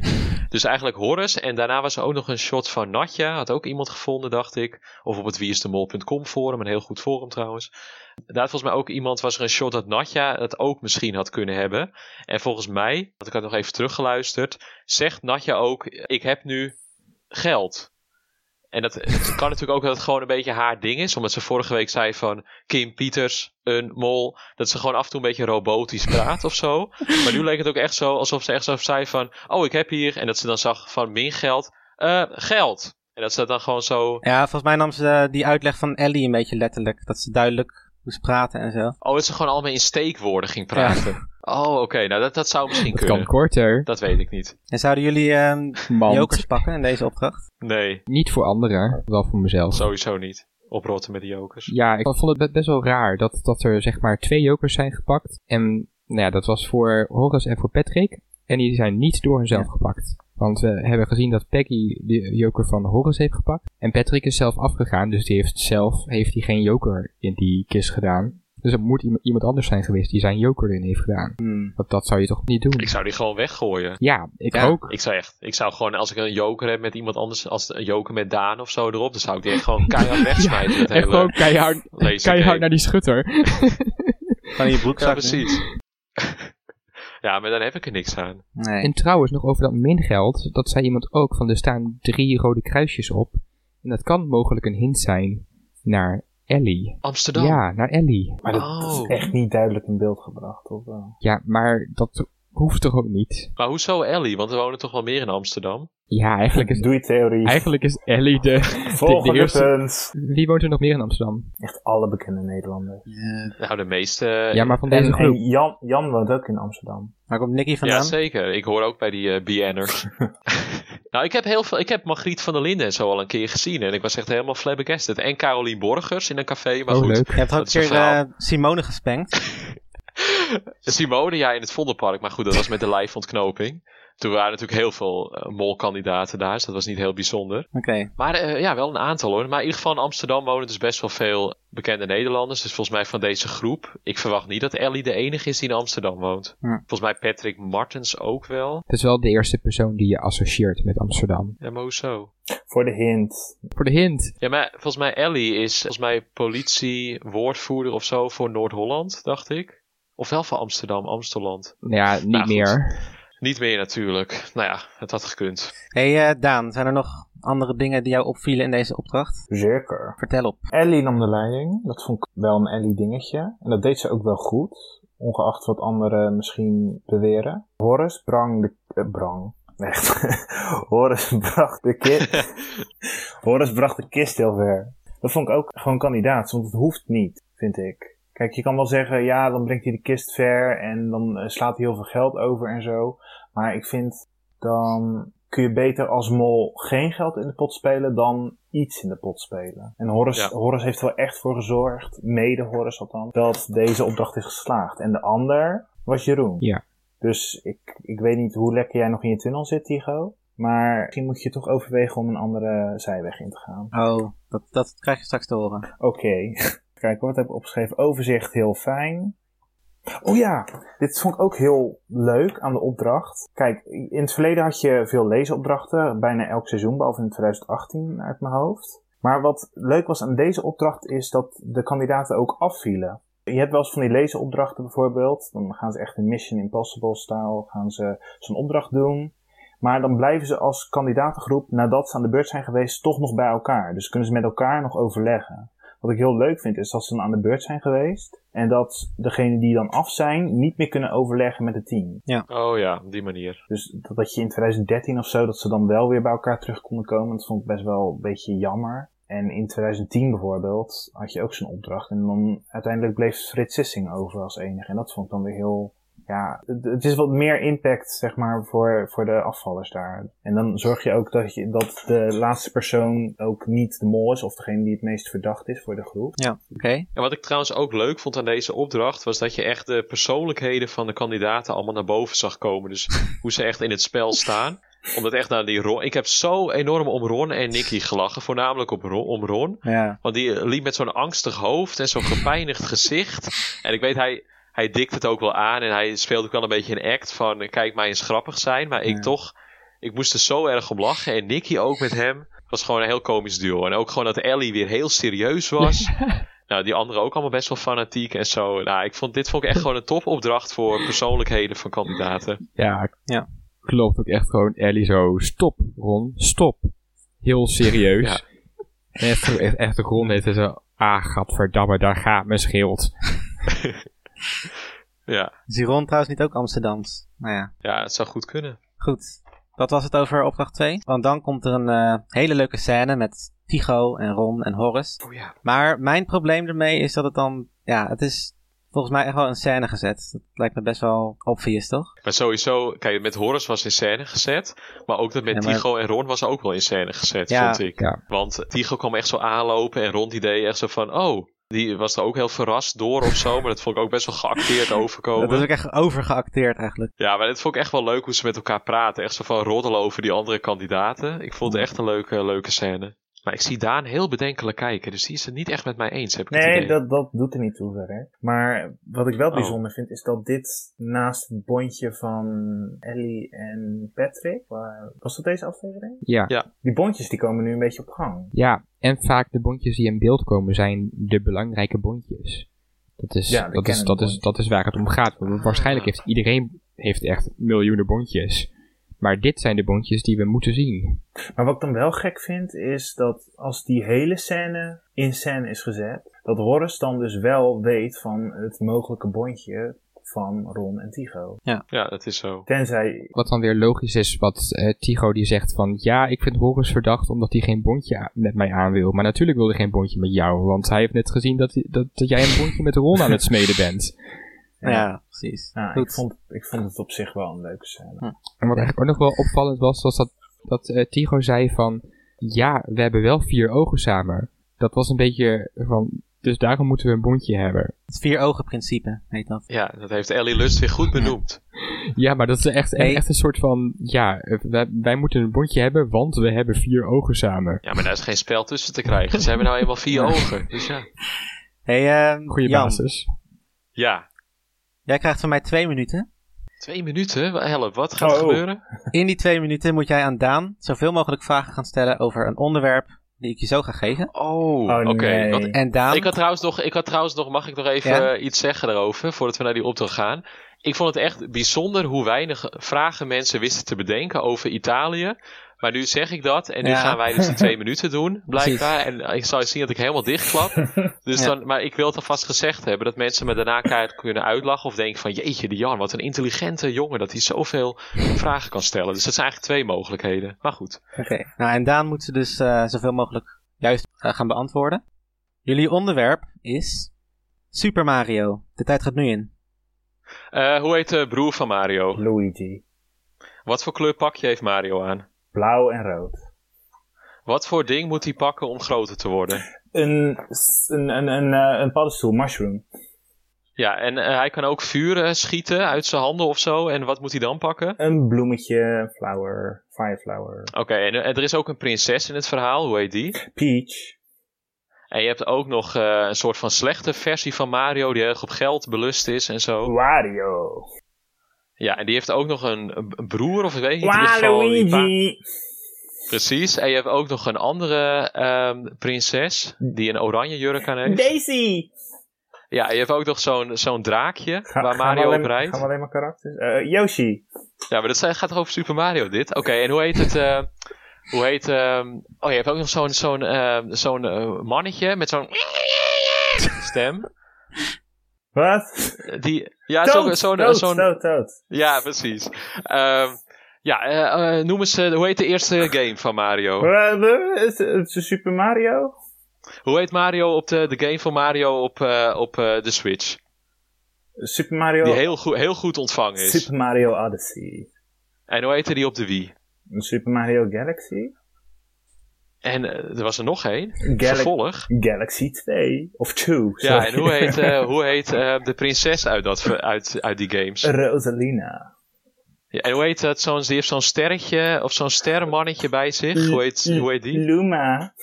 A: dus eigenlijk Horus. En daarna was er ook nog een shot van Natja, had ook iemand gevonden, dacht ik. Of op het wieisdemol.com forum, een heel goed forum trouwens. Daar had volgens mij ook iemand was er een shot dat Natja het ook misschien had kunnen hebben. En volgens mij, want ik had nog even teruggeluisterd, zegt Natja ook: Ik heb nu geld. En dat, het kan natuurlijk ook dat het gewoon een beetje haar ding is. Omdat ze vorige week zei van Kim Pieters, een mol. Dat ze gewoon af en toe een beetje robotisch praat of zo. Maar nu leek het ook echt zo alsof ze echt zo zei van... Oh, ik heb hier. En dat ze dan zag van min geld. eh, geld. En dat ze dat dan gewoon zo...
B: Ja, volgens mij nam ze eh, die uitleg van Ellie een beetje letterlijk. Dat ze duidelijk moest praten en zo.
A: Oh, dat ze gewoon allemaal in steekwoorden ging praten. Oh, oké. Nou, dat, dat zou misschien
C: Het
A: kunnen.
C: kan korter.
A: Dat weet ik niet.
B: En zouden jullie ehm,
C: Man.
B: jokers pakken in deze opdracht?
A: Nee,
C: Niet voor anderen, wel voor mezelf.
A: sowieso niet. Oprotten met de jokers.
C: Ja, ik vond het be- best wel raar dat, dat er zeg maar twee jokers zijn gepakt. En nou ja, dat was voor Horace en voor Patrick. En die zijn niet door hunzelf gepakt. Want we hebben gezien dat Peggy de joker van Horace heeft gepakt. En Patrick is zelf afgegaan, dus die heeft zelf heeft die geen joker in die kist gedaan. Dus het moet iemand- iemand anders zijn geweest die zijn joker erin heeft gedaan. Want dat zou je toch niet doen?
A: Hmm. Ik zou die gewoon weggooien.
C: Ja, ik
B: Ja.
C: ook.
A: Ik zou echt, ik zou gewoon, als ik een joker heb met iemand anders, als een joker met Daan of zo erop, dan zou ik die echt gewoon keihard wegsmijten. het
C: Echt
A: hele
C: gewoon keihard,
A: lazy
C: keihard
A: game.
C: naar die schutter.
B: Van je broekzak?
A: Ja,
B: nu?
A: precies. ja, maar dan heb ik er niks aan.
B: Nee.
C: En trouwens, nog over dat mingeld. Dat zei iemand ook van er staan drie rode kruisjes op. En dat kan mogelijk een hint zijn naar Ellie.
A: Amsterdam.
C: Ja, naar Ellie.
D: Maar dat, dat
A: Oh.
D: is echt niet duidelijk in beeld gebracht. Of, wel?
C: Ja, maar dat hoeft toch ook niet?
A: Maar hoezo Ellie? Want er wonen toch wel meer in Amsterdam?
C: Ja, eigenlijk is,
D: Doe je theorie.
C: eigenlijk is Ellie de...
D: Volgende
C: de eerste-
D: punt.
C: Wie woont er nog meer in Amsterdam?
D: Echt alle bekende Nederlanders.
A: Nou, de meeste.
C: Ja, maar van
D: En,
A: eh,
C: deze groep.
D: en Jan, Jan woont ook in Amsterdam.
B: Waar komt Nicky vandaan?
A: Ja, zeker. Ik hoor ook bij die eh BN'ers. nou, ik heb heel veel. Ik heb Margriet van der Linden en zo al een keer gezien. En ik was echt helemaal flabbergasted. En Carolien Borgers in een café. Maar
C: Oh,
A: goed.
C: leuk.
B: Je hebt
A: Dat
B: ook een
A: is een
B: keer
A: verhaal.
B: eh, Simone gespenkt.
A: Simone, ja, in het Vondelpark. Maar goed, dat was met de live ontknoping. Toen waren natuurlijk heel veel eh, molkandidaten daar. Dus dat was niet heel bijzonder.
B: Oké.
A: Maar eh, ja, wel een aantal hoor. Maar in ieder geval in Amsterdam wonen dus best wel veel bekende Nederlanders. Dus volgens mij van deze groep. Ik verwacht niet dat Ellie de enige is die in Amsterdam woont.
B: Hm.
A: Volgens mij Patrick Martens ook wel.
C: Dat is wel de eerste persoon die je associeert met Amsterdam.
A: Ja, maar hoezo?
D: Voor de hint.
C: Voor de hint.
A: Ja, maar volgens mij Ellie is volgens mij politie-woordvoerder of zo voor Noord-Holland, dacht ik. Of wel voor Amsterdam, Amsteland.
C: Nou Ja, niet
A: Nou, goed.
C: meer.
A: Niet meer natuurlijk. Nou ja, het had gekund.
B: Hey eh, Daan, zijn er nog andere dingen die jou opvielen in deze opdracht?
D: Zeker.
B: Vertel op.
D: Ellie nam de leiding. Dat vond ik wel een Ellie dingetje. En dat deed ze ook wel goed. Ongeacht wat anderen misschien beweren. Horus brang de... eh, brang. Echt. Horus bracht de kist... Horus bracht de kist heel ver. Dat vond ik ook gewoon kandidaat. Want het hoeft niet, vind ik. Kijk, je kan wel zeggen... Ja, dan brengt hij de kist ver. En dan eh, slaat hij heel veel geld over en zo. Maar ik vind... Dan kun je beter als mol geen geld in de pot spelen... dan iets in de pot spelen. En Horus,
A: Ja.
D: Horus heeft er wel echt voor gezorgd... mede Horus althans... dat deze opdracht is geslaagd. En de ander was Jeroen.
C: Ja.
D: Dus ik, ik weet niet hoe lekker jij nog in je tunnel zit, Tigo. Maar misschien moet je toch overwegen om een andere zijweg in te gaan.
B: Oh, dat, dat krijg je straks te horen.
D: Oké. Kijk, wat heb ik opgeschreven? Overzicht, heel fijn. Oh ja, dit vond ik ook heel leuk aan de opdracht. Kijk, in het verleden had je veel leesopdrachten, bijna elk seizoen, behalve in 2018 uit mijn hoofd. Maar wat leuk was aan deze opdracht is dat de kandidaten ook afvielen. Je hebt wel eens van die lezenopdrachten bijvoorbeeld. Dan gaan ze echt in Mission Impossible stijl gaan ze zo'n opdracht doen. Maar dan blijven ze als kandidatengroep, nadat ze aan de beurt zijn geweest, toch nog bij elkaar. Dus kunnen ze met elkaar nog overleggen. Wat ik heel leuk vind is dat ze dan aan de beurt zijn geweest. En dat degenen die dan af zijn, niet meer kunnen overleggen met het team.
A: Oh ja, op die manier.
D: Dus dat, dat je in 2013 of zo, dat ze dan wel weer bij elkaar terug konden komen, dat vond ik best wel een beetje jammer. En in 2010 bijvoorbeeld had je ook zo'n opdracht. En dan uiteindelijk bleef Frits Sissing over als enige. En dat vond ik dan weer heel. Ja, het, het is wat meer impact, zeg maar, voor, voor de afvallers daar. En dan zorg je ook dat, je, dat de laatste persoon ook niet de mol is, of degene die het meest verdacht is voor de groep.
B: Ja, oké.
A: En wat ik trouwens ook leuk vond aan deze opdracht, was dat je echt de persoonlijkheden van de kandidaten allemaal naar boven zag komen. Dus hoe ze echt in het spel staan. Omdat echt naar die Ron. Ik heb zo enorm om Ron en Nicky gelachen. Voornamelijk op Ron, om Ron.
B: Ja.
A: Want die eh, liep met zo'n angstig hoofd en zo'n gepijnigd gezicht. En ik weet, hij, hij dikt het ook wel aan. En hij speelt ook wel een beetje een act van... eh, Kijk, mij eens grappig zijn. Maar ik toch... Ik moest er zo erg om lachen. En Nicky ook met hem. Het was gewoon een heel komisch duo. En ook gewoon dat Ellie weer heel serieus was. nou, die anderen ook allemaal best wel fanatiek en zo. Nou, ik vond, dit vond ik echt gewoon een topopdracht voor persoonlijkheden van kandidaten.
C: Ja, ik
B: Ja.
C: geloof ook echt gewoon Ellie zo, stop Ron, stop. Heel serieus.
A: Ja.
C: En Echt, echt, echt de grond heeft zo, ah gadverdamme, daar gaat mijn schild.
A: Ja,
B: Is die Ron trouwens niet ook Amsterdams? Nou ja,
A: ja het zou goed kunnen.
B: goed. Dat was het over opdracht 2. Want dan komt er een eh, hele leuke scène met Tycho en Ron en Horace.
A: Oh ja.
B: Maar mijn probleem ermee is dat het dan... Ja, het is volgens mij echt wel een scène gezet. Dat lijkt me best wel obvious, toch?
A: Maar sowieso, kijk, met Horace was in scène gezet. Maar ook dat met
B: Ja, maar-
A: Tycho en Ron was ook wel in scène gezet,
B: Ja,
A: vond ik.
C: ja.
A: Want Tycho kwam echt zo aanlopen en Ron die deed echt zo van, oh, die was er ook heel verrast door of zo. Maar dat vond ik ook best wel geacteerd
B: Dat is
A: overkomen.
B: ook echt overgeacteerd eigenlijk.
A: Ja, maar dat vond ik echt wel leuk hoe ze met elkaar praten. Echt zo van roddelen over die andere kandidaten. Ik vond het echt een leuke, leuke scène. Maar ik zie Daan heel bedenkelijk kijken, dus die is het niet echt met mij eens, heb ik het
D: Nee,
A: idee.
D: dat, dat doet er niet toe verder. Maar wat ik wel
A: Oh.
D: bijzonder vind, is dat dit naast het bondje van Ellie en Patrick, waar- was dat deze aflevering?
C: Ja.
A: Ja.
D: Die bondjes die komen nu een beetje op gang.
C: ja, en vaak de bondjes die in beeld komen zijn de belangrijke bondjes. Dat is,
D: Ja, de
C: dat is,
D: kennende
C: dat is, dat is waar het om gaat. Want waarschijnlijk heeft iedereen heeft echt miljoenen bondjes. Maar dit zijn de bondjes die we moeten zien.
D: Maar wat ik dan wel gek vind, is dat als die hele scène in scène is gezet, dat Horace dan dus wel weet van het mogelijke bondje van Ron en Tycho.
A: Ja, dat is zo.
D: Tenzij,
C: Wat dan weer logisch is, wat eh Tycho die zegt van... Ja, ik vind Horus verdacht omdat hij geen bondje a- met mij aan wil. Maar natuurlijk wil hij geen bondje met jou. Want hij heeft net gezien dat, hij- dat, dat jij een bondje met Ron aan het smeden bent.
D: Ja.
B: Ja, precies.
D: nou, ik,
B: Goed.
D: vond, ik vond het op zich wel een leuke scène.
A: Hm.
C: En wat eigenlijk ook nog wel opvallend was, was dat, dat eh, Tycho zei van... Ja, we hebben wel vier ogen samen. Dat was een beetje van... Dus daarom moeten we een bondje hebben.
B: Het vier ogen principe heet dat.
A: Ja, dat heeft Ellie Lust weer goed benoemd.
C: Ja, maar dat is echt,
B: Nee.
C: echt een soort van... Ja, eh, wij, wij moeten een bondje hebben, want we hebben vier ogen samen.
A: Ja, maar daar is geen spel tussen te krijgen. Ze hebben nou eenmaal vier ogen. Dus ja.
B: hey, eh,
C: Goeie
B: Jan,
C: basis.
A: Ja,
B: jij krijgt van mij twee minuten.
A: twee minuten. Wa- Help, wat gaat er
D: Oh.
A: gebeuren?
B: In die twee minuten moet jij aan Daan zoveel mogelijk vragen gaan stellen over een onderwerp die ik je zo ga geven.
A: Oh,
D: Oh,
A: oké.
D: nee.
A: Want-
B: En Daan,
A: Ik had trouwens nog, ik had trouwens nog, mag ik nog even
B: Ja?
A: eh, iets zeggen daarover, voordat we naar die opdracht gaan? Ik vond het echt bijzonder hoe weinig vragen mensen wisten te bedenken over Italië. Maar nu zeg ik dat en nu
B: Ja.
A: gaan wij dus die twee minuten doen, blijkbaar. En ik zal je zien dat ik helemaal dichtklap. Dus
B: Ja.
A: dan, maar ik wil het alvast gezegd hebben, dat mensen me daarna keihard kunnen uitlachen. Of denken van, jeetje de Jan, wat een intelligente jongen, dat hij zoveel vragen kan stellen. Dus dat zijn eigenlijk twee mogelijkheden. Maar goed.
B: Oké. Nou, en Daan moet ze dus eh, zoveel mogelijk juist eh, gaan beantwoorden. Jullie onderwerp is Super Mario. De tijd gaat nu in.
A: Eh, hoe heet de broer van Mario?
D: Luigi.
A: Wat voor kleur pakje heeft Mario aan?
D: Blauw en rood.
A: Wat voor ding moet hij pakken om groter te worden?
D: Een, een, een, een, eh, een paddenstoel, mushroom.
A: Ja, en eh, hij kan ook vuren schieten uit zijn handen of zo. En wat moet hij dan pakken?
D: Een bloemetje, flower, fireflower.
A: Oké, en eh, er is ook een prinses in het verhaal. Hoe heet die?
D: Peach.
A: En je hebt ook nog eh, een soort van slechte versie van Mario die erg op geld belust is en zo.
D: Wario.
A: Ja, en die heeft ook nog een, een broer of ik weet niet. in ieder geval die pa-
D: Waluigi.
A: Precies. En je hebt ook nog een andere ehm, prinses die een oranje jurk aan heeft.
D: Daisy!
A: Ja, en je hebt ook nog zo'n zo'n draakje
D: Ga-
A: waar
D: gaan we
A: Mario
D: alleen-
A: op rijdt.
D: Gaan we alleen maar karakters? Eh, Yoshi.
A: Ja, maar dat zijn- gaat toch over Super Mario dit? Oké, en hoe heet het? eh, hoe heet... ehm, oh, je hebt ook nog zo'n zo'n ehm, zo'n eh, mannetje met zo'n... stem.
D: Wat?
A: Die, ja,
D: Toad,
A: Ah, zo'n... zo'n
D: Toad,
A: zo'n-
D: Toad, Toad.
A: ja, precies. Ehm, ja, eh, eh, noem eens... eh, hoe heet de eerste game van Mario?
D: Eh, eh, is- is het Super Mario?
A: Hoe heet Mario op de, de game van Mario op, eh, op eh, de Switch?
D: Super Mario.
A: Die heel, goed heel goed ontvangen is.
D: Super Mario Odyssey.
A: En hoe heette die op de Wii?
D: Super Mario Galaxy?
A: En eh, er was er nog één.
D: Galax-
A: Vervolg.
D: Galaxy 2. Of 2.
A: Ja,
D: sorry.
A: en hoe heet, eh, hoe heet eh, de prinses uit, dat, ver- uit, uit die games?
D: Rosalina.
A: Ja, en hoe heet dat? Zo'n, die heeft zo'n sterretje of zo'n sterrenmannetje bij zich. Hoe heet, hoe heet die?
D: Luma.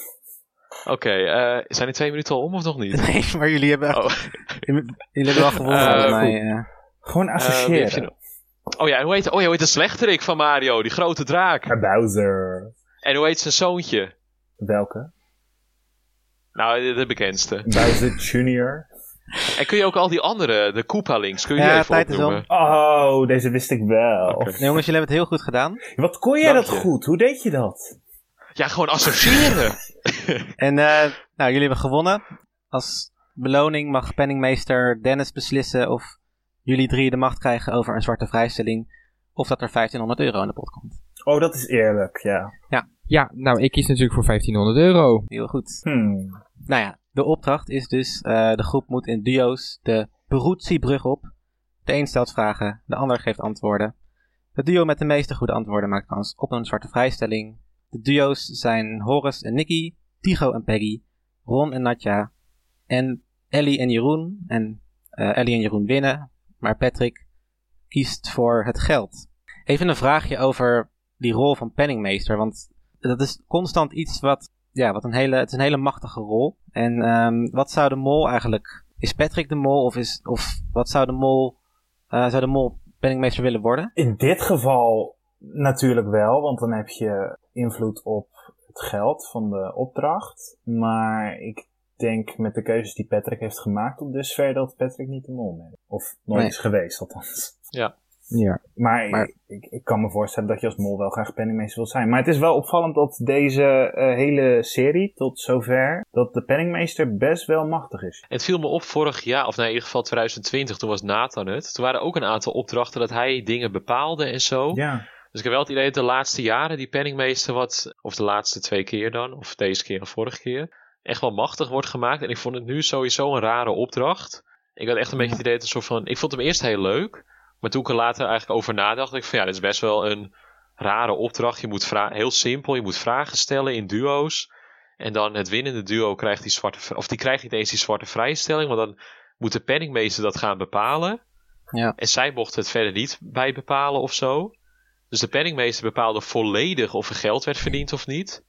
A: Oké, eh, zijn die twee minuten al om of nog niet?
B: Nee, maar jullie hebben echt...
A: Oh.
B: Jullie hebben wel gewonnen,
A: Eh,
B: volgens mij. eh.
D: Gewoon
A: Eh, wie heb je
D: associëren.
A: nog? oh ja, en hoe heet, oh, ja, hoe heet de slechterik van Mario? Die grote draak.
D: Bowser.
A: En hoe heet zijn zoontje?
D: Welke?
A: Nou, de, de bekendste.
D: Bowser Jr.
A: En kun je ook al die andere, de Koopa-links, kun je
B: Ja,
A: die even
B: tijd is om.
A: opnoemen?
D: Oh, deze wist ik wel.
A: Oké.
B: Nee, jongens, jullie hebben het heel goed gedaan.
D: Wat kon jij
A: Dank
D: dat
A: je.
D: goed? Hoe deed je dat?
A: Ja, gewoon associëren.
B: En eh, nou, jullie hebben gewonnen. Als beloning mag penningmeester Dennis beslissen of jullie drie de macht krijgen over een zwarte vrijstelling. Of dat er 1500 euro in de pot komt.
D: Oh, dat is eerlijk, ja.
C: Ja, nou, ik kies natuurlijk voor 1500 euro.
B: Heel goed.
D: Hmm.
B: Nou ja, de opdracht is dus, eh, de groep moet in duo's de Peruzzi-brug op. De een stelt vragen, de ander geeft antwoorden. Het duo met de meeste goede antwoorden maakt kans op een zwarte vrijstelling. De duo's zijn Horus en Nicky, Tigo en Peggy, Ron en Natja en Ellie en Jeroen. En eh, Ellie en Jeroen winnen, maar Patrick kiest voor het geld. Even een vraagje over die rol van penningmeester, want dat is constant iets wat ja, wat een hele, het is een hele machtige rol. En ehm, wat zou de mol eigenlijk... Is Patrick de mol of, is, of wat zou de mol... eh, zou de mol penningmeester willen worden?
D: In dit geval natuurlijk wel, want dan heb je invloed op het geld van de opdracht. Maar ik denk met de keuzes die Patrick heeft gemaakt op dusver dat Patrick niet de mol meer is. Of nooit
B: Nee.
D: is geweest, althans.
C: Ja.
D: Maar,
B: Maar-
D: Ik, ik kan me voorstellen dat je als mol wel graag penningmeester wilt zijn. Maar het is wel opvallend dat deze eh, hele serie tot zover... dat de penningmeester best wel machtig is.
A: Het viel me op vorig jaar, of nou in ieder geval 2020, toen was Nathan het. Toen waren ook een aantal opdrachten dat hij dingen bepaalde en zo.
D: Ja.
A: Dus ik heb wel het idee dat de laatste jaren die penningmeester wat, of de laatste twee keer dan, of deze keer en vorige keer, echt wel machtig wordt gemaakt. En ik vond het nu sowieso een rare opdracht. Ik had echt een beetje het idee dat het een soort van, ik vond hem eerst heel leuk. Maar toen ik er later eigenlijk over nadacht, dacht ik van ja, dit is best wel een rare opdracht. Je moet vra- heel simpel, je moet vragen stellen in duo's. En dan het winnende duo krijgt die zwarte, vri- of die krijgt niet eens die zwarte vrijstelling, want dan moet de penningmeester dat gaan bepalen.
B: Ja.
A: En zij mocht het verder niet bij bepalen of zo. Dus de penningmeester bepaalde volledig of er geld werd verdiend of niet.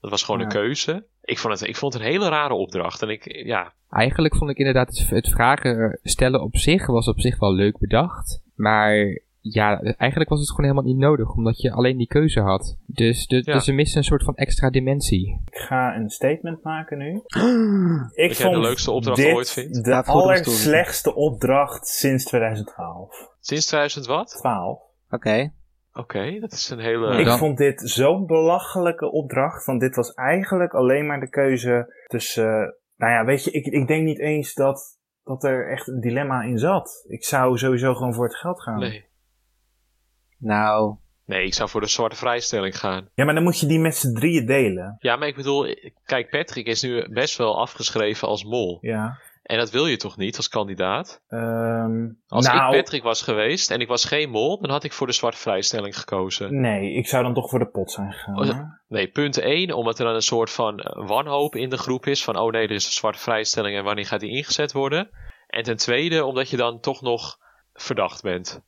A: Dat was gewoon
D: Ja.
A: een keuze. Ik vond, het, ik vond het een hele rare opdracht. En ik, ja,
C: Eigenlijk vond ik inderdaad het, het vragen eh, stellen op zich was op zich wel leuk bedacht. Maar ja, eigenlijk was het gewoon helemaal niet nodig, omdat je alleen die keuze had. Dus, de,
A: Ja.
C: dus ze misten een soort van extra dimensie.
D: Ik ga een statement maken nu. Ik
A: jij de leukste opdracht
D: dit
A: ooit vindt?
D: de
B: Laat het goed op mijn stoel
D: allerslechtste opdracht sinds 2012.
A: sinds 2000 wat?
D: 12.
B: Oké.
A: Oké, dat is een hele...
D: ik
C: dan-
D: vond dit zo'n belachelijke opdracht. Want dit was eigenlijk alleen maar de keuze tussen... eh, nou ja, weet je, ik, ik denk niet eens dat, dat er echt een dilemma in zat. Ik zou sowieso gewoon voor het geld gaan.
A: Nee.
B: Nou,
A: nee, ik zou voor de zwarte vrijstelling gaan.
D: Ja, maar dan moet je die met z'n drieën delen.
A: Ja, maar ik bedoel, kijk, Patrick is nu best wel afgeschreven als mol.
D: Ja.
A: En dat wil je toch niet als kandidaat?
D: Ehm,
A: Als
D: nou,
A: ik Patrick was geweest en ik was geen mol, dan had ik voor de zwarte vrijstelling gekozen.
D: nee, ik zou dan toch voor de pot zijn gegaan.
A: Oh,
D: hè?
A: Nee, punt 1, omdat er dan een soort van eh, wanhoop in de groep is. Van, oh nee, er is een zwarte vrijstelling en wanneer gaat die ingezet worden? En ten tweede, omdat je dan toch nog verdacht bent.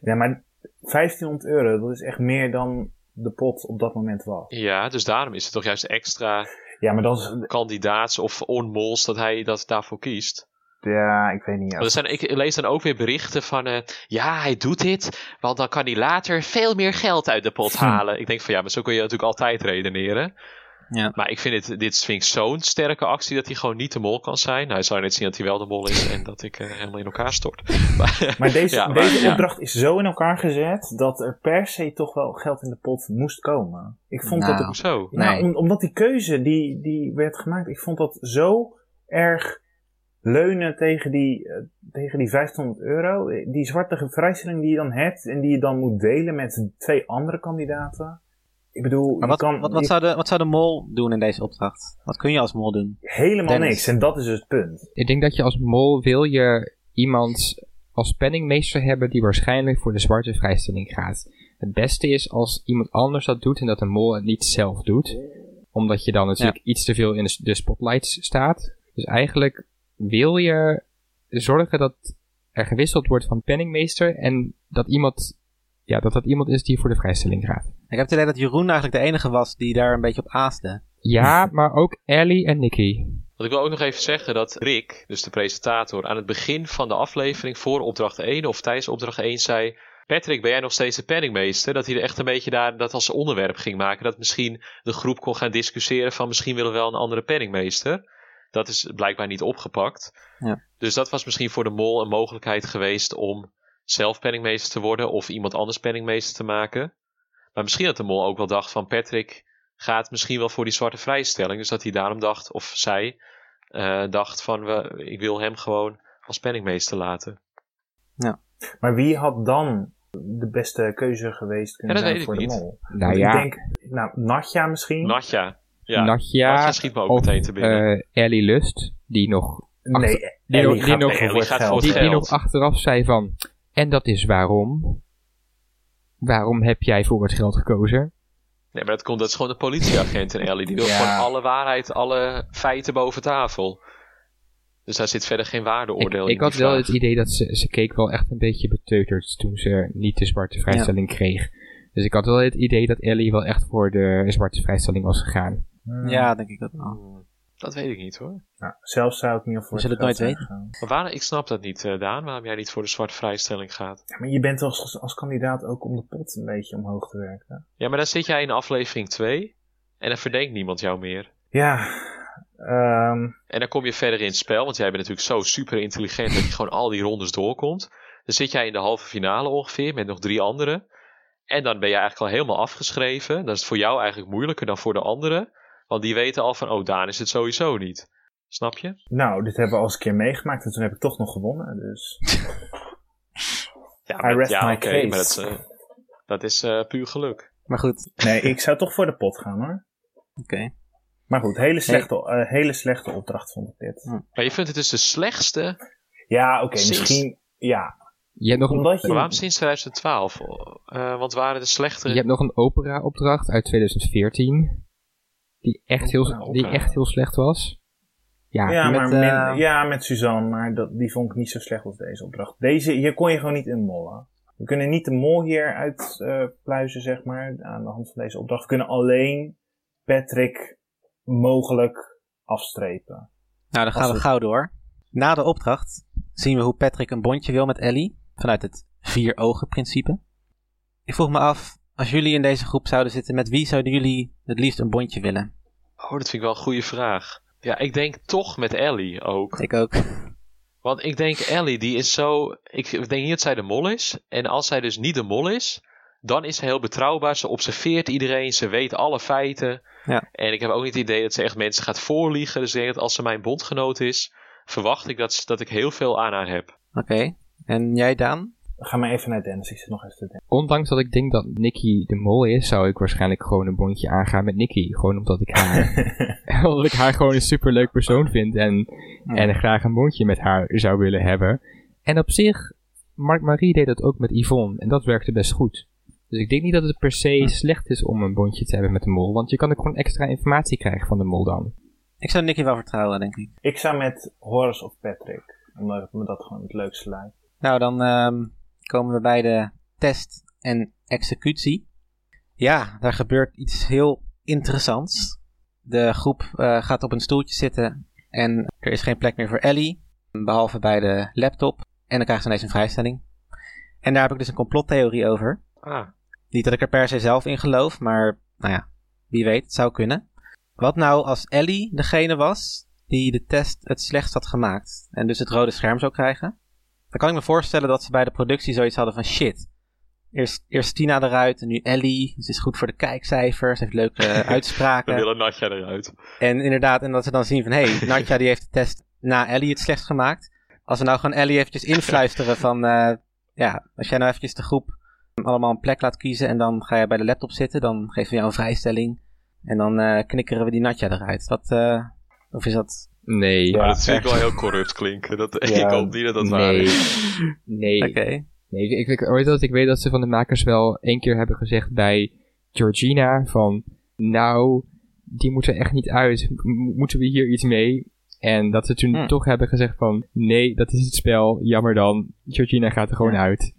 D: Ja, maar 1500 euro, dat is echt meer dan de pot op dat moment was.
A: Ja, dus daarom is het toch juist extra
D: Ja, maar dat is,
A: kandidaats of onmols dat hij dat daarvoor kiest.
D: Ja, ik weet niet.
A: Want er zijn, ik lees dan ook weer berichten van, eh, ja, hij doet dit, want dan kan hij later veel meer geld uit de pot halen. Ik denk van, ja, maar zo kun je natuurlijk altijd redeneren.
B: Ja.
A: Maar ik vind dit, dit vind ik zo'n sterke actie dat hij gewoon niet de mol kan zijn. Hij zou net zien dat hij wel de mol is en dat ik eh, helemaal in elkaar stort. Maar,
D: Maar deze,
A: ja, maar-
D: deze
A: ja.
D: opdracht is zo in elkaar gezet dat er per se toch wel geld in de pot moest komen. Ik vond dat
B: Nou.
D: het,
A: Zo.
D: nou,
B: Nee.
D: om- omdat die keuze die, die werd gemaakt, ik vond dat zo erg leunen tegen die, eh, tegen die 500 euro. Eh, Die zwarte vrijstelling die je dan hebt en die je dan moet delen met twee andere kandidaten. Ik bedoel,
B: Maar
D: je
B: wat,
D: kan
B: wat, wat,
D: je-
B: zou de, wat zou de mol doen in deze opdracht? Wat kun je als mol doen?
D: helemaal
B: Dennis?
D: niks. En dat is dus het punt.
C: Ik denk dat je als mol wil je iemand als penningmeester hebben die waarschijnlijk voor de zwarte vrijstelling gaat. Het beste is als iemand anders dat doet en dat de mol het niet zelf doet. Omdat je dan natuurlijk iets te veel in de s- de spotlights staat. Dus eigenlijk wil je zorgen dat er gewisseld wordt van penningmeester en dat iemand, ja, dat dat iemand is die voor de vrijstelling gaat.
B: Ik heb het idee dat Jeroen eigenlijk de enige was die daar een beetje op aaste.
C: Ja, maar ook Ellie en Nicky.
A: Want ik wil ook nog even zeggen dat Rick, dus de presentator, aan het begin van de aflevering voor opdracht 1 of tijdens opdracht 1 zei: Patrick, ben jij nog steeds de penningmeester? Dat hij er echt een beetje daar dat als onderwerp ging maken. Dat misschien de groep kon gaan discussiëren van misschien willen we wel een andere penningmeester. Dat is blijkbaar niet opgepakt.
B: Ja.
A: Dus dat was misschien voor de mol een mogelijkheid geweest om zelf penningmeester te worden of iemand anders penningmeester te maken. Maar misschien dat de mol ook wel dacht van Patrick gaat misschien wel voor die zwarte vrijstelling. Dus dat hij daarom dacht, of zij, eh, dacht van we, ik wil hem gewoon als penningmeester laten.
D: Maar wie had dan de beste keuze geweest kunnen
A: Ja, dat
D: zijn
A: weet ik
D: voor
A: niet.
D: de mol?
C: Nou
D: Ik
C: ja,
D: denk, nou, Natja
C: Hm?
D: misschien.
A: Natja. Ja,
C: Nadja
A: Nadja schiet me ook
C: of
A: meteen te binnen.
C: eh, Ellie Lust, die nog
D: nee,
C: die
D: Ellie
C: nog- die
D: gaat,
C: nog-
D: Ellie
A: Ellie
D: gaat
A: gaat
D: geld.
A: voor
C: die,
A: het
C: die
A: geld.
C: nog achteraf zei van... En dat is waarom? Waarom heb jij voor het geld gekozen?
A: Nee, maar dat komt, dat is gewoon de politieagent en Ellie. Die wil
D: Ja.
A: gewoon alle waarheid, alle feiten boven tafel. Dus daar zit verder geen
C: Ik,
A: waardeoordeel in.
C: ik had
A: die
C: wel
A: vraag.
C: het idee dat ze, ze keek wel echt een beetje beteuterd toen ze niet de zwarte vrijstelling kreeg. Dus ik had wel het idee dat Ellie wel echt voor de zwarte vrijstelling was gegaan.
D: Hmm.
B: Ja, denk ik dat wel.
A: Dat weet ik niet hoor.
D: Nou, zelf zou ik niet voor
B: We zullen het nooit
D: weten.
A: Maar waar, ik snap dat niet, eh, Daan, waarom jij niet voor de zwarte vrijstelling gaat.
D: Ja, maar je bent als, als kandidaat ook om de pot een beetje omhoog te werken.
A: Ja, maar dan zit jij in aflevering 2 en dan verdenkt niemand jou meer.
D: Ja, ehm,
A: En dan kom je verder in het spel, want jij bent natuurlijk zo super intelligent dat je gewoon al die rondes doorkomt. Dan zit jij in de halve finale ongeveer met nog drie anderen. En dan ben je eigenlijk al helemaal afgeschreven. Dan is het voor jou eigenlijk moeilijker dan voor de anderen. Want die weten al van, oh Daan is het sowieso niet. Snap je?
D: nou, dit hebben we al eens een keer meegemaakt en toen heb ik toch nog gewonnen. Dus
A: Ja,
D: I rest
A: ja,
D: my
A: oké,
D: case.
A: maar dat, is, eh, dat is eh, puur geluk.
B: Maar goed,
D: nee, ik zou toch voor de pot gaan hoor.
B: oké.
D: Maar goed, hele slechte, eh, hele slechte opdracht vond ik dit.
A: Maar je vindt het dus de slechtste.
D: Ja, oké,
A: Sinds-
D: misschien. Ja,
C: Je hebt nog een,
D: omdat
A: Maar waarom
D: je.
A: sinds 2012? Eh, want waren de
C: je
A: slechtere...
C: hebt nog een opera-opdracht uit 2014. Die echt, heel, die
A: Opera.
C: echt heel slecht was. Ja,
D: Ja,
B: met,
D: maar
B: eh,
D: min- ja, met Suzanne, maar dat, die vond ik niet zo slecht als deze opdracht. Deze, hier kon je gewoon niet in mollen. We kunnen niet de mol hier uitpluizen, pluizen zeg maar, aan de hand van deze opdracht. We kunnen alleen Patrick mogelijk afstrepen.
B: Nou, dan gaan we
D: het-
B: gauw door. Na de opdracht zien we hoe Patrick een bondje wil met Ellie. Vanuit het vier-ogen-principe. Ik vroeg me af, als jullie in deze groep zouden zitten, met wie zouden jullie het liefst een bondje willen?
A: Oh, dat vind ik wel een goede vraag. Ja, ik denk toch met Ellie ook.
B: Ik ook.
A: Want ik denk Ellie, die is zo. Ik denk niet dat zij de mol is. En als zij dus niet de mol is, dan is ze heel betrouwbaar. Ze observeert iedereen, ze weet alle feiten.
B: Ja.
A: En ik heb ook niet het idee dat ze echt mensen gaat voorliegen. Dus ik denk dat als ze mijn bondgenoot is, verwacht ik dat, ze- dat ik heel veel aan haar heb.
B: Oké. En jij, Daan?
D: Ga maar even naar Dennis, ik zit nog even te denken.
C: Ondanks dat ik denk dat Nicky de mol is, zou ik waarschijnlijk gewoon een bondje aangaan met Nicky. Gewoon omdat ik haar, omdat ik haar gewoon een superleuk persoon vind en, en graag een bondje met haar zou willen hebben. En op zich, Mark Marie deed dat ook met Yvonne en dat werkte best goed. Dus ik denk niet dat het per se slecht is om een bondje te hebben met de mol, want je kan ook gewoon extra informatie krijgen van de mol dan.
B: Ik zou Nicky wel vertrouwen, denk ik.
D: Ik zou met Horace of Patrick, omdat me dat gewoon het leukste lijkt.
B: Nou, dan ehm, komen we bij de test en executie. Ja, daar gebeurt iets heel interessants. De groep eh, gaat op een stoeltje zitten en er is geen plek meer voor Ellie. Behalve bij de laptop. En dan krijgen ze ineens een vrijstelling. En daar heb ik dus een complottheorie over.
A: Ah,
B: Niet dat ik er per se zelf in geloof, maar nou ja, wie weet, het zou kunnen. Wat nou als Ellie degene was die de test het slechtst had gemaakt en dus het rode scherm zou krijgen? Dan kan ik me voorstellen dat ze bij de productie zoiets hadden van shit. Eerst, eerst Tina eruit en nu Ellie. Ze is goed voor de kijkcijfers, heeft leuke
A: we
B: uitspraken.
A: willen Natja eruit.
B: En inderdaad, en dat ze dan zien van, hé, hey, Nadja die heeft de test na Ellie het slechtst gemaakt. Als we nou gewoon Ellie eventjes influisteren van, eh, ja, als jij nou eventjes de groep allemaal een plek laat kiezen en dan ga je bij de laptop zitten, dan geven we jou een vrijstelling. En dan eh, knikkeren we die Nadja eruit. Dat, eh, of is dat...
C: Nee.
D: Ja,
A: Maar dat vind ik
D: echt.
A: wel heel corrupt klinken. Dat,
D: Ja,
A: ik hoop niet dat dat waar
C: nee.
A: is.
C: Nee.
B: Oké.
C: nee ik, ik, ooit dat, ik weet dat ze van de makers wel één keer hebben gezegd bij Georgina van... Nou, die moeten echt niet uit. M- moeten we hier iets mee? En dat ze toen
B: Hm.
C: toch hebben gezegd van... Nee, dat is het spel. Jammer dan. Georgina gaat er gewoon uit.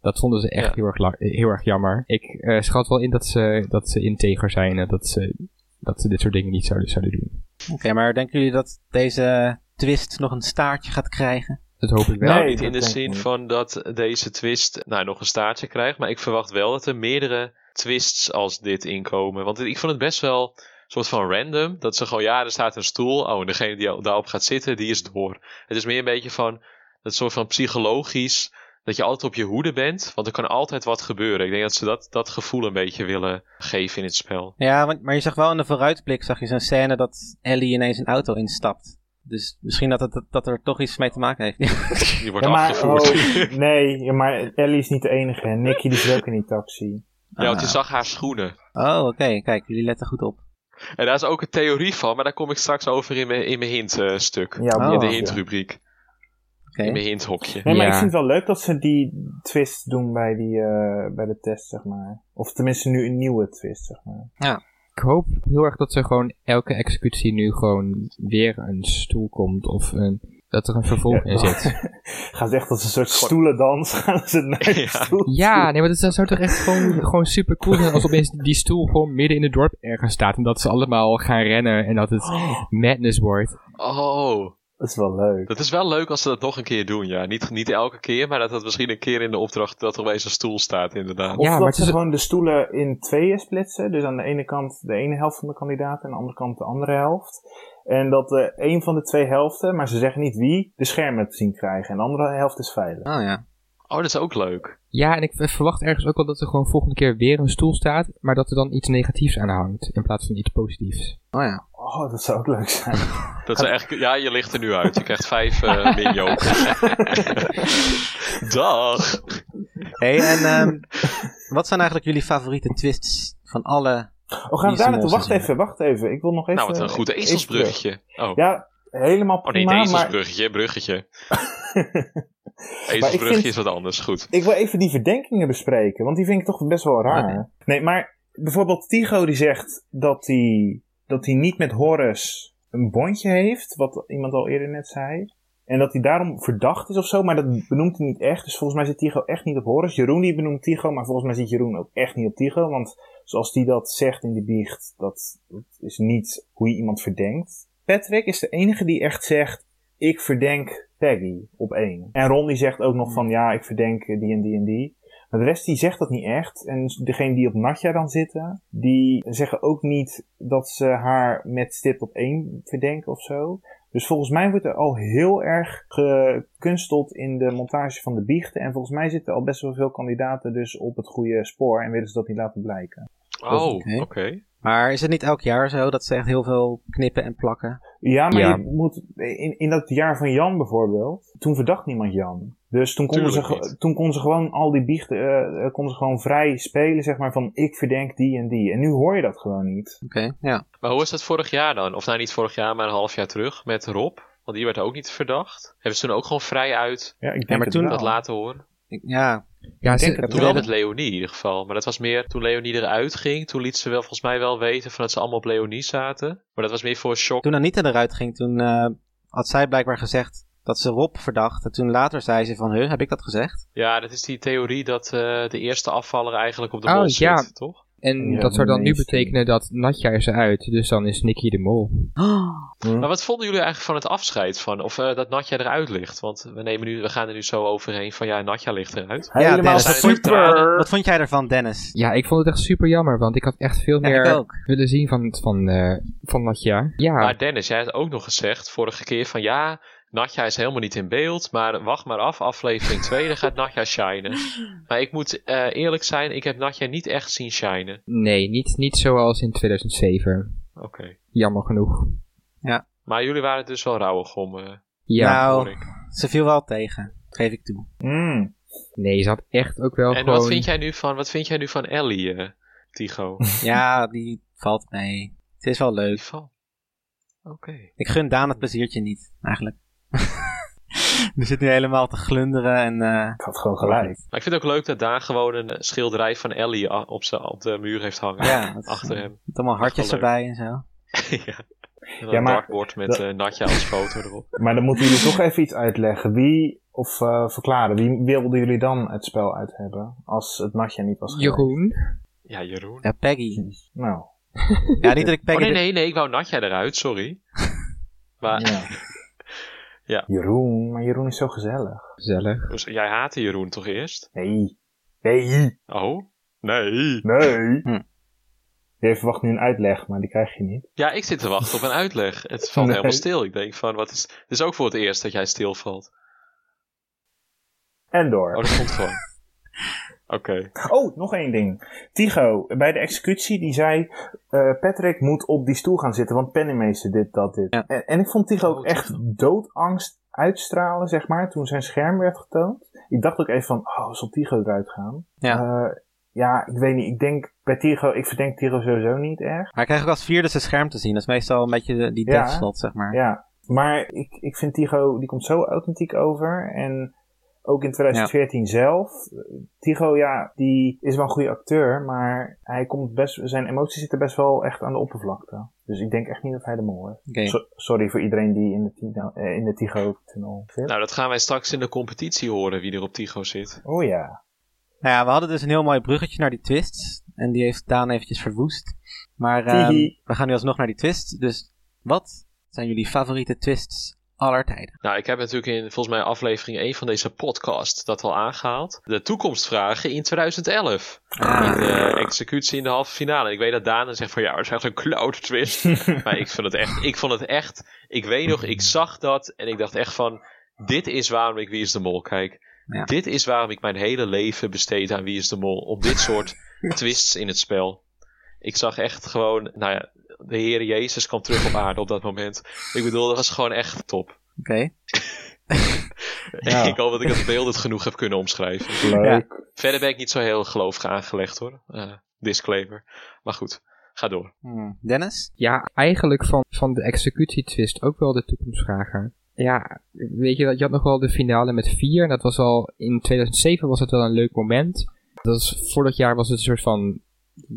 C: Dat vonden ze echt
A: Ja.
C: heel, erg la- heel erg jammer. Ik eh, schat wel in dat ze, dat ze integer zijn. En dat ze, dat ze dit soort dingen niet zouden, zouden doen.
B: Oké, maar denken jullie dat deze twist nog een staartje gaat krijgen?
C: Dat hoop ik wel.
A: Nou,
D: Nee,
A: niet
D: dat
A: in de
D: denk ik
A: zin
D: niet.
A: van dat deze twist nou, nog een staartje krijgt. Maar ik verwacht wel dat er meerdere twists als dit inkomen. Want ik vond het best wel een soort van random. Dat ze gewoon, ja, er staat een stoel. Oh, en degene die al- daarop gaat zitten, die is door. Het is meer een beetje van, dat soort van psychologisch... Dat je altijd op je hoede bent, want er kan altijd wat gebeuren. Ik denk dat ze dat, dat gevoel een beetje willen geven in het spel.
B: Ja, want, maar je zag wel in de vooruitblik, zag je zo'n scène dat Ellie ineens een auto instapt. Dus misschien dat, het, dat er toch iets mee te maken heeft.
A: Die wordt
D: Ja, maar,
A: afgevoerd.
D: oh, nee, ja, maar Ellie is niet de enige. hè. Nicky die zit ook in die taxi.
A: Ja, want je
D: Ah.
A: zag haar schoenen.
B: Oh, oké. Kijk, jullie letten goed op.
A: En daar is ook een theorie van, maar daar kom ik straks over in mijn, in mijn hintstuk.
D: Ja,
B: Oh.
A: in de
D: ja.
A: hintrubriek.
B: Oké.
A: In mijn hinthokje.
D: Nee, maar
C: Ja.
D: ik vind het wel leuk dat ze die twist doen bij, die, eh, bij de test, zeg maar. Of tenminste nu een nieuwe twist, zeg maar.
C: Ik hoop heel erg dat ze gewoon elke executie nu gewoon weer een stoel komt. Of een, dat er een vervolg in zit.
D: Gaan ze echt als een soort stoelendans gaan ze naar de
A: Ja.
D: stoel.
C: Ja, nee, maar dat, dat zou toch echt gewoon, gewoon super cool zijn als opeens die stoel gewoon midden in het dorp ergens staat. En dat ze allemaal gaan rennen en dat het madness wordt.
A: Oh,
D: Dat is wel leuk.
A: dat is wel leuk als ze dat nog een keer doen, ja. Niet, niet elke keer, maar dat dat misschien een keer in de opdracht dat er opeens een stoel staat, inderdaad.
D: Of
C: Ja, maar
D: dat
C: het
D: ze
C: is-
D: gewoon de stoelen in tweeën splitsen. Dus aan de ene kant de ene helft van de kandidaat en aan de andere kant de andere helft. En dat de een van de twee helften, maar ze zeggen niet wie, de schermen te zien krijgen. En de andere helft is veilig.
B: Oh ja.
A: Oh, dat is ook leuk.
C: Ja, en ik verwacht ergens ook wel dat er gewoon volgende keer weer een stoel staat. Maar dat er dan iets negatiefs aan hangt in plaats van iets positiefs.
B: Oh ja.
D: Oh, dat zou ook leuk zijn.
A: Dat is echt, ja, je ligt er nu uit. Je krijgt vijf eh minjokers. Dag!
B: Hé, hey, en ehm, wat zijn eigenlijk jullie favoriete twists van alle...
D: Oh, gaan we
B: Niet
D: daar
B: de monster
D: naartoe? Wacht
B: zien.
D: even, wacht even. Ik wil nog even...
A: Nou, wat een goed
D: even
A: ezelsbruggetje. Oh.
D: terug. Ja, helemaal
A: Oh nee,
D: prima,
A: het
D: maar...
A: ezelsbruggetje, bruggetje.
D: Maar ik
A: Ezelsbruggetje
D: vind-
A: is wat anders, goed.
D: Ik wil even die verdenkingen bespreken, want die vind ik toch best wel raar. Nee, maar bijvoorbeeld Tigo die zegt dat hij dat hij niet met Horus een bondje heeft, wat iemand al eerder net zei. En dat hij daarom verdacht is of zo, maar dat benoemt hij niet echt. Dus volgens mij zit Tigo echt niet op Horus. Jeroen die benoemt Tigo, maar volgens mij zit Jeroen ook echt niet op Tigo. Want zoals die dat zegt in de biecht, dat, dat is niet hoe je iemand verdenkt. Patrick is de enige die echt zegt, ik verdenk Peggy op één. En Ron die zegt ook nog van, ja, ik verdenk eh, die en die en die. Maar de rest die zegt dat niet echt. En degene die op Natja dan zitten, die zeggen ook niet dat ze haar met stip op één verdenken of zo. Dus volgens mij wordt er al heel erg gekunsteld in de montage van de biechten. En volgens mij zitten al best wel veel kandidaten dus op het goede spoor en willen ze dat niet laten blijken.
A: Oh,
B: oké.
A: oké.
B: Maar is het niet elk jaar zo dat ze echt heel veel knippen en plakken?
D: Ja, maar
C: Ja.
D: je moet, in, in dat jaar van Jan bijvoorbeeld, toen verdacht niemand Jan. Dus toen konden, ze,
A: Tuurlijk
D: ge-
A: niet.
D: toen konden ze gewoon al die biechten, eh, eh, konden ze gewoon vrij spelen, zeg maar, van ik verdenk die en die. En nu hoor je dat gewoon niet.
B: Oké, ja.
A: Maar hoe is dat vorig jaar dan? Of nou niet vorig jaar, maar een half jaar terug met Rob. Want die werd ook niet verdacht. Hebben ze toen ook gewoon vrij uit
D: Ja, ik denk
B: maar
D: het
B: toen-
D: wel.
A: Nou, dat laten horen?
B: Ik- ja,
C: Ja,
D: denk
C: ze-
D: het
A: Toen
D: Ja.
A: wel met Leonie in ieder geval. Maar dat was meer toen Leonie eruit ging. Toen liet ze wel volgens mij wel weten van dat ze allemaal op Leonie zaten. Maar dat was meer voor shock.
B: toen Anita eruit ging, toen eh, had zij blijkbaar gezegd dat ze Rob verdacht. En toen later zei ze van, huh, heb ik dat gezegd?
A: Ja, dat is die theorie dat eh, de eerste afvaller eigenlijk op de
C: Oh,
A: mol zit,
C: ja.
A: toch?
C: En
D: Ja,
C: dat zou dan nu
D: mainstream.
C: betekenen dat Natja is eruit, dus dan is Nicky de mol.
A: Maar wat vonden jullie eigenlijk van het afscheid van, of eh, dat Natja eruit ligt? Want we, nemen nu, we gaan er nu zo overheen van, ja, Natja ligt eruit.
D: Helemaal
B: Dennis, dat vond-
A: super.
B: Wat vond jij ervan, Dennis?
C: Ja, ik vond het echt super jammer, want ik had echt veel
B: Ja,
C: meer
B: ik ook.
C: willen zien van, van, eh, van Natja. Ja,
A: Maar Dennis, jij had ook nog gezegd vorige keer van, ja, Natja is helemaal niet in beeld, maar wacht maar af, aflevering 2, dan gaat Natja shinen. Maar ik moet eh, eerlijk zijn, ik heb Natja niet echt zien shinen.
C: nee, niet, niet zoals in 2007.
A: Oké.
C: Jammer genoeg.
A: Maar jullie waren dus wel rauwig om, eh,
C: Ja,
A: hoor
B: nou,
A: ik.
B: ze viel wel tegen. Geef ik toe.
D: Mm.
C: nee, ze had echt ook wel
A: En
C: gewoon...
A: wat, vind jij nu van, wat vind jij nu van Ellie, eh Tigo?
B: Ja, die valt mee. Ze is wel leuk.
A: Die val. Oké.
B: Ik gun Daan het pleziertje niet, eigenlijk. Die zit nu helemaal te glunderen en... eh,
D: Ik had gewoon gelijk.
A: Maar ik vind het ook leuk dat daar gewoon een eh, schilderij van Ellie a- op, z'n- op de muur heeft hangen.
B: ja, dat is-
A: Achter hem.
B: Met allemaal hartjes
A: Echt wel
B: erbij en zo.
A: ja. En dan
D: Ja,
A: een
D: maar-
A: dartboard met
D: dat-
A: eh, Natja als foto erop.
D: Maar dan moeten jullie toch even iets uitleggen. Wie, of eh, verklaren, wie wilden jullie dan het spel uit hebben? Als het natje niet was geweest?
C: Jeroen?
A: Ja, Jeroen.
B: Ja, Peggy.
D: Nou,
B: Ja, niet dat ik
A: Oh,
B: Peggy...
A: nee,
B: de-
A: nee, nee, ik wou Natja eruit, sorry. Maar
D: Jeroen. Maar Jeroen is zo gezellig.
C: Gezellig.
A: dus jij haatte Jeroen toch eerst?
D: Nee. Nee.
A: Oh? Nee.
D: Nee.
B: Hm.
D: Je verwacht nu een uitleg, maar die krijg je niet.
A: Ja, ik zit te wachten op een uitleg. Het valt
D: Nee.
A: helemaal stil. Ik denk van, wat is... Het is ook voor het eerst dat jij stilvalt.
D: En door.
A: Oh, dat komt gewoon. Oké.
D: Oh, nog één ding. Tigo, bij de executie, die zei... eh, Patrick moet op die stoel gaan zitten, want penningmeester dit, dat, dit.
B: Ja.
D: En, en ik vond Tigo
A: Oh,
D: ook
A: Tycho.
D: echt doodangst uitstralen, zeg maar, toen zijn scherm werd getoond. Ik dacht ook even van, oh, zal Tigo eruit gaan?
B: Ja.
D: Eh, ja, ik weet niet. Ik denk bij Tigo, ik verdenk Tigo sowieso niet erg.
B: Maar ik krijg ook als vierde zijn scherm te zien. Dat is meestal een beetje de- die
D: Ja.
B: death slot, zeg maar.
D: Ja, maar ik, ik vind Tigo, die komt zo authentiek over. En ook in 2014 zelf. Tigo, ja, die is wel een goede acteur, maar hij komt best, zijn emoties zitten best wel echt aan de oppervlakte. Dus ik denk echt niet dat hij de mol is.
B: Oké.
D: So- sorry voor iedereen die in de, Tigo- eh, in de Tigo-tunnel zit.
A: Nou, dat gaan wij straks in de competitie horen wie er op Tigo zit.
D: Oh ja.
B: Nou ja, we hadden dus een heel mooi bruggetje naar die twist. En die heeft Daan eventjes verwoest. Maar ehm,
D: Tihi.
B: we gaan nu alsnog naar die twist. Dus wat zijn jullie favoriete twists aller tijden?
A: Nou, ik heb natuurlijk in volgens mij aflevering 1 van deze podcast dat al aangehaald. De toekomstvragen in 2011. Met de executie in de halve finale. Ik weet dat Daan dan zegt van ja, het is echt een cloud twist. maar ik vind het echt, ik vond het echt, ik weet nog, ik zag dat en ik dacht echt van, dit is waarom ik Wie is de Mol kijk.
B: Ja.
A: Dit is waarom ik mijn hele leven besteed aan Wie is de Mol. Op dit soort twists in het spel. Ik zag echt gewoon, nou ja, de Heer Jezus kwam terug op aarde op dat moment. Ik bedoel, dat was gewoon echt top.
B: Oké.
D: Ja.
A: ik hoop dat ik het beeldend genoeg heb kunnen omschrijven.
D: Leuk.
A: Verder ben ik niet zo heel gelovig aangelegd hoor. Eh, disclaimer. Maar goed, ga door.
B: Hmm, Dennis?
C: Ja, eigenlijk van, van de executietwist ook wel de toekomstvragen. Ja, weet je, dat je had nog wel de finale met vier. En dat was al, in 2007 was het wel een leuk moment. Dat is, vorig jaar was het een soort van,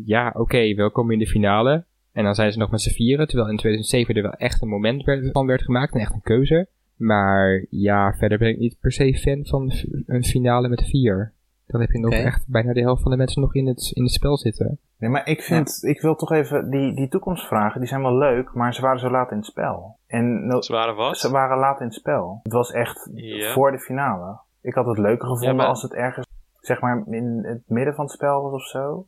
C: ja, oké, welkom in de finale. En dan zijn ze nog met z'n vieren. Terwijl in 2007 er wel echt een moment werd, van werd gemaakt en echt een keuze. Maar ja, verder ben ik niet per se fan van f- een finale met vier. Dan heb je nog
B: Oké.
C: echt bijna de helft van de mensen nog in het, in het spel zitten.
D: Nee, maar ik vind, ik wil toch even, die, die toekomstvragen, die zijn wel leuk, maar ze waren zo laat in het spel. En no-
A: Ze waren wat?
D: Nou, ze waren laat in het spel. Het was echt
A: Ja.
D: voor de finale. Ik had het leuker gevonden
A: Ja, maar-
D: als het ergens, zeg maar, in het midden van het spel was of zo.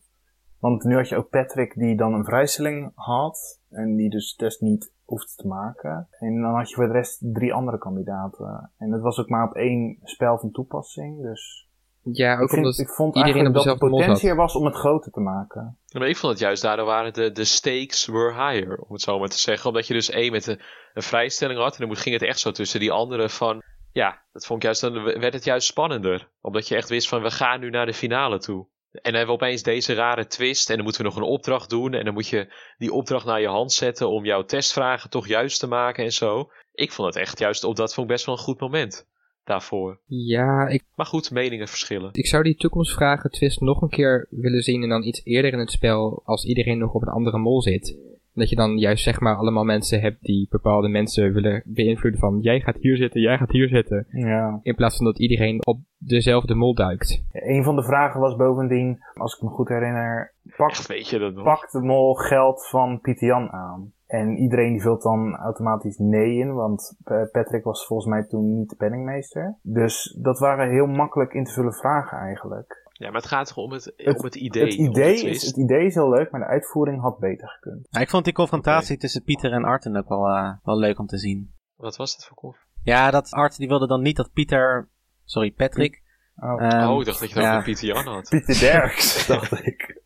D: Want nu had je ook Patrick die dan een vrijstelling had. En die dus test niet hoefde te maken. En dan had je voor de rest drie andere kandidaten. En dat was ook maar op één spel van toepassing. Dus
C: Ja,
D: ik,
C: ook
D: vind-
C: omdat...
D: ik vond
C: iedereen
D: eigenlijk
C: op
D: dat de
C: dezelfde mol
D: potentie
C: zat.
D: er was om het groter te maken.
A: Ja, Maar ik vond het juist, daardoor waren de, de stakes were higher, om het zo maar te zeggen. Omdat je dus één met een, een vrijstelling had en dan moet- ging het echt zo tussen die andere van... Ja, dat vond ik juist, dan werd het juist spannender. Omdat je echt wist van, we gaan nu naar de finale toe. En dan hebben we opeens deze rare twist en dan moeten we nog een opdracht doen. En dan moet je die opdracht naar je hand zetten om jouw testvragen toch juist te maken en zo. Ik vond het echt juist, op dat vond ik best wel een goed moment daarvoor.
C: Ja, ik
A: Maar goed, meningen verschillen.
C: Ik zou die toekomstvragen twist nog een keer willen zien en dan iets eerder in het spel als iedereen nog op een andere mol zit. Dat je dan juist zeg maar allemaal mensen hebt die bepaalde mensen willen beïnvloeden van jij gaat hier zitten, jij gaat hier zitten.
D: Ja.
C: In plaats van dat iedereen op dezelfde mol duikt.
D: Een van de vragen was bovendien, als ik me goed herinner, pakt,
A: Echt, weet je dat nog?
D: pakt de mol geld van Pieter Jan aan. En iedereen die vult dan automatisch nee in, want eh, Patrick was volgens mij toen niet de penningmeester. Dus dat waren heel makkelijk in te vullen vragen eigenlijk.
A: Ja, maar het gaat toch om het,
D: Het-
A: om het idee.
D: het,
A: om de
D: idee
A: twist.
D: is, het idee is heel leuk, maar de uitvoering had beter gekund.
B: Ja, ik vond die confrontatie tussen Pieter en Arten ook wel, eh, wel leuk om te zien.
A: Wat was dat voor koffie?
B: Ja, dat Art die wilde dan niet dat Pieter. Sorry, Patrick.
D: Oh.
B: ehm,
A: oh, ik dacht dat je het
B: ja,
A: over Pieter Jan had.
D: Pieter Derks, dacht ik.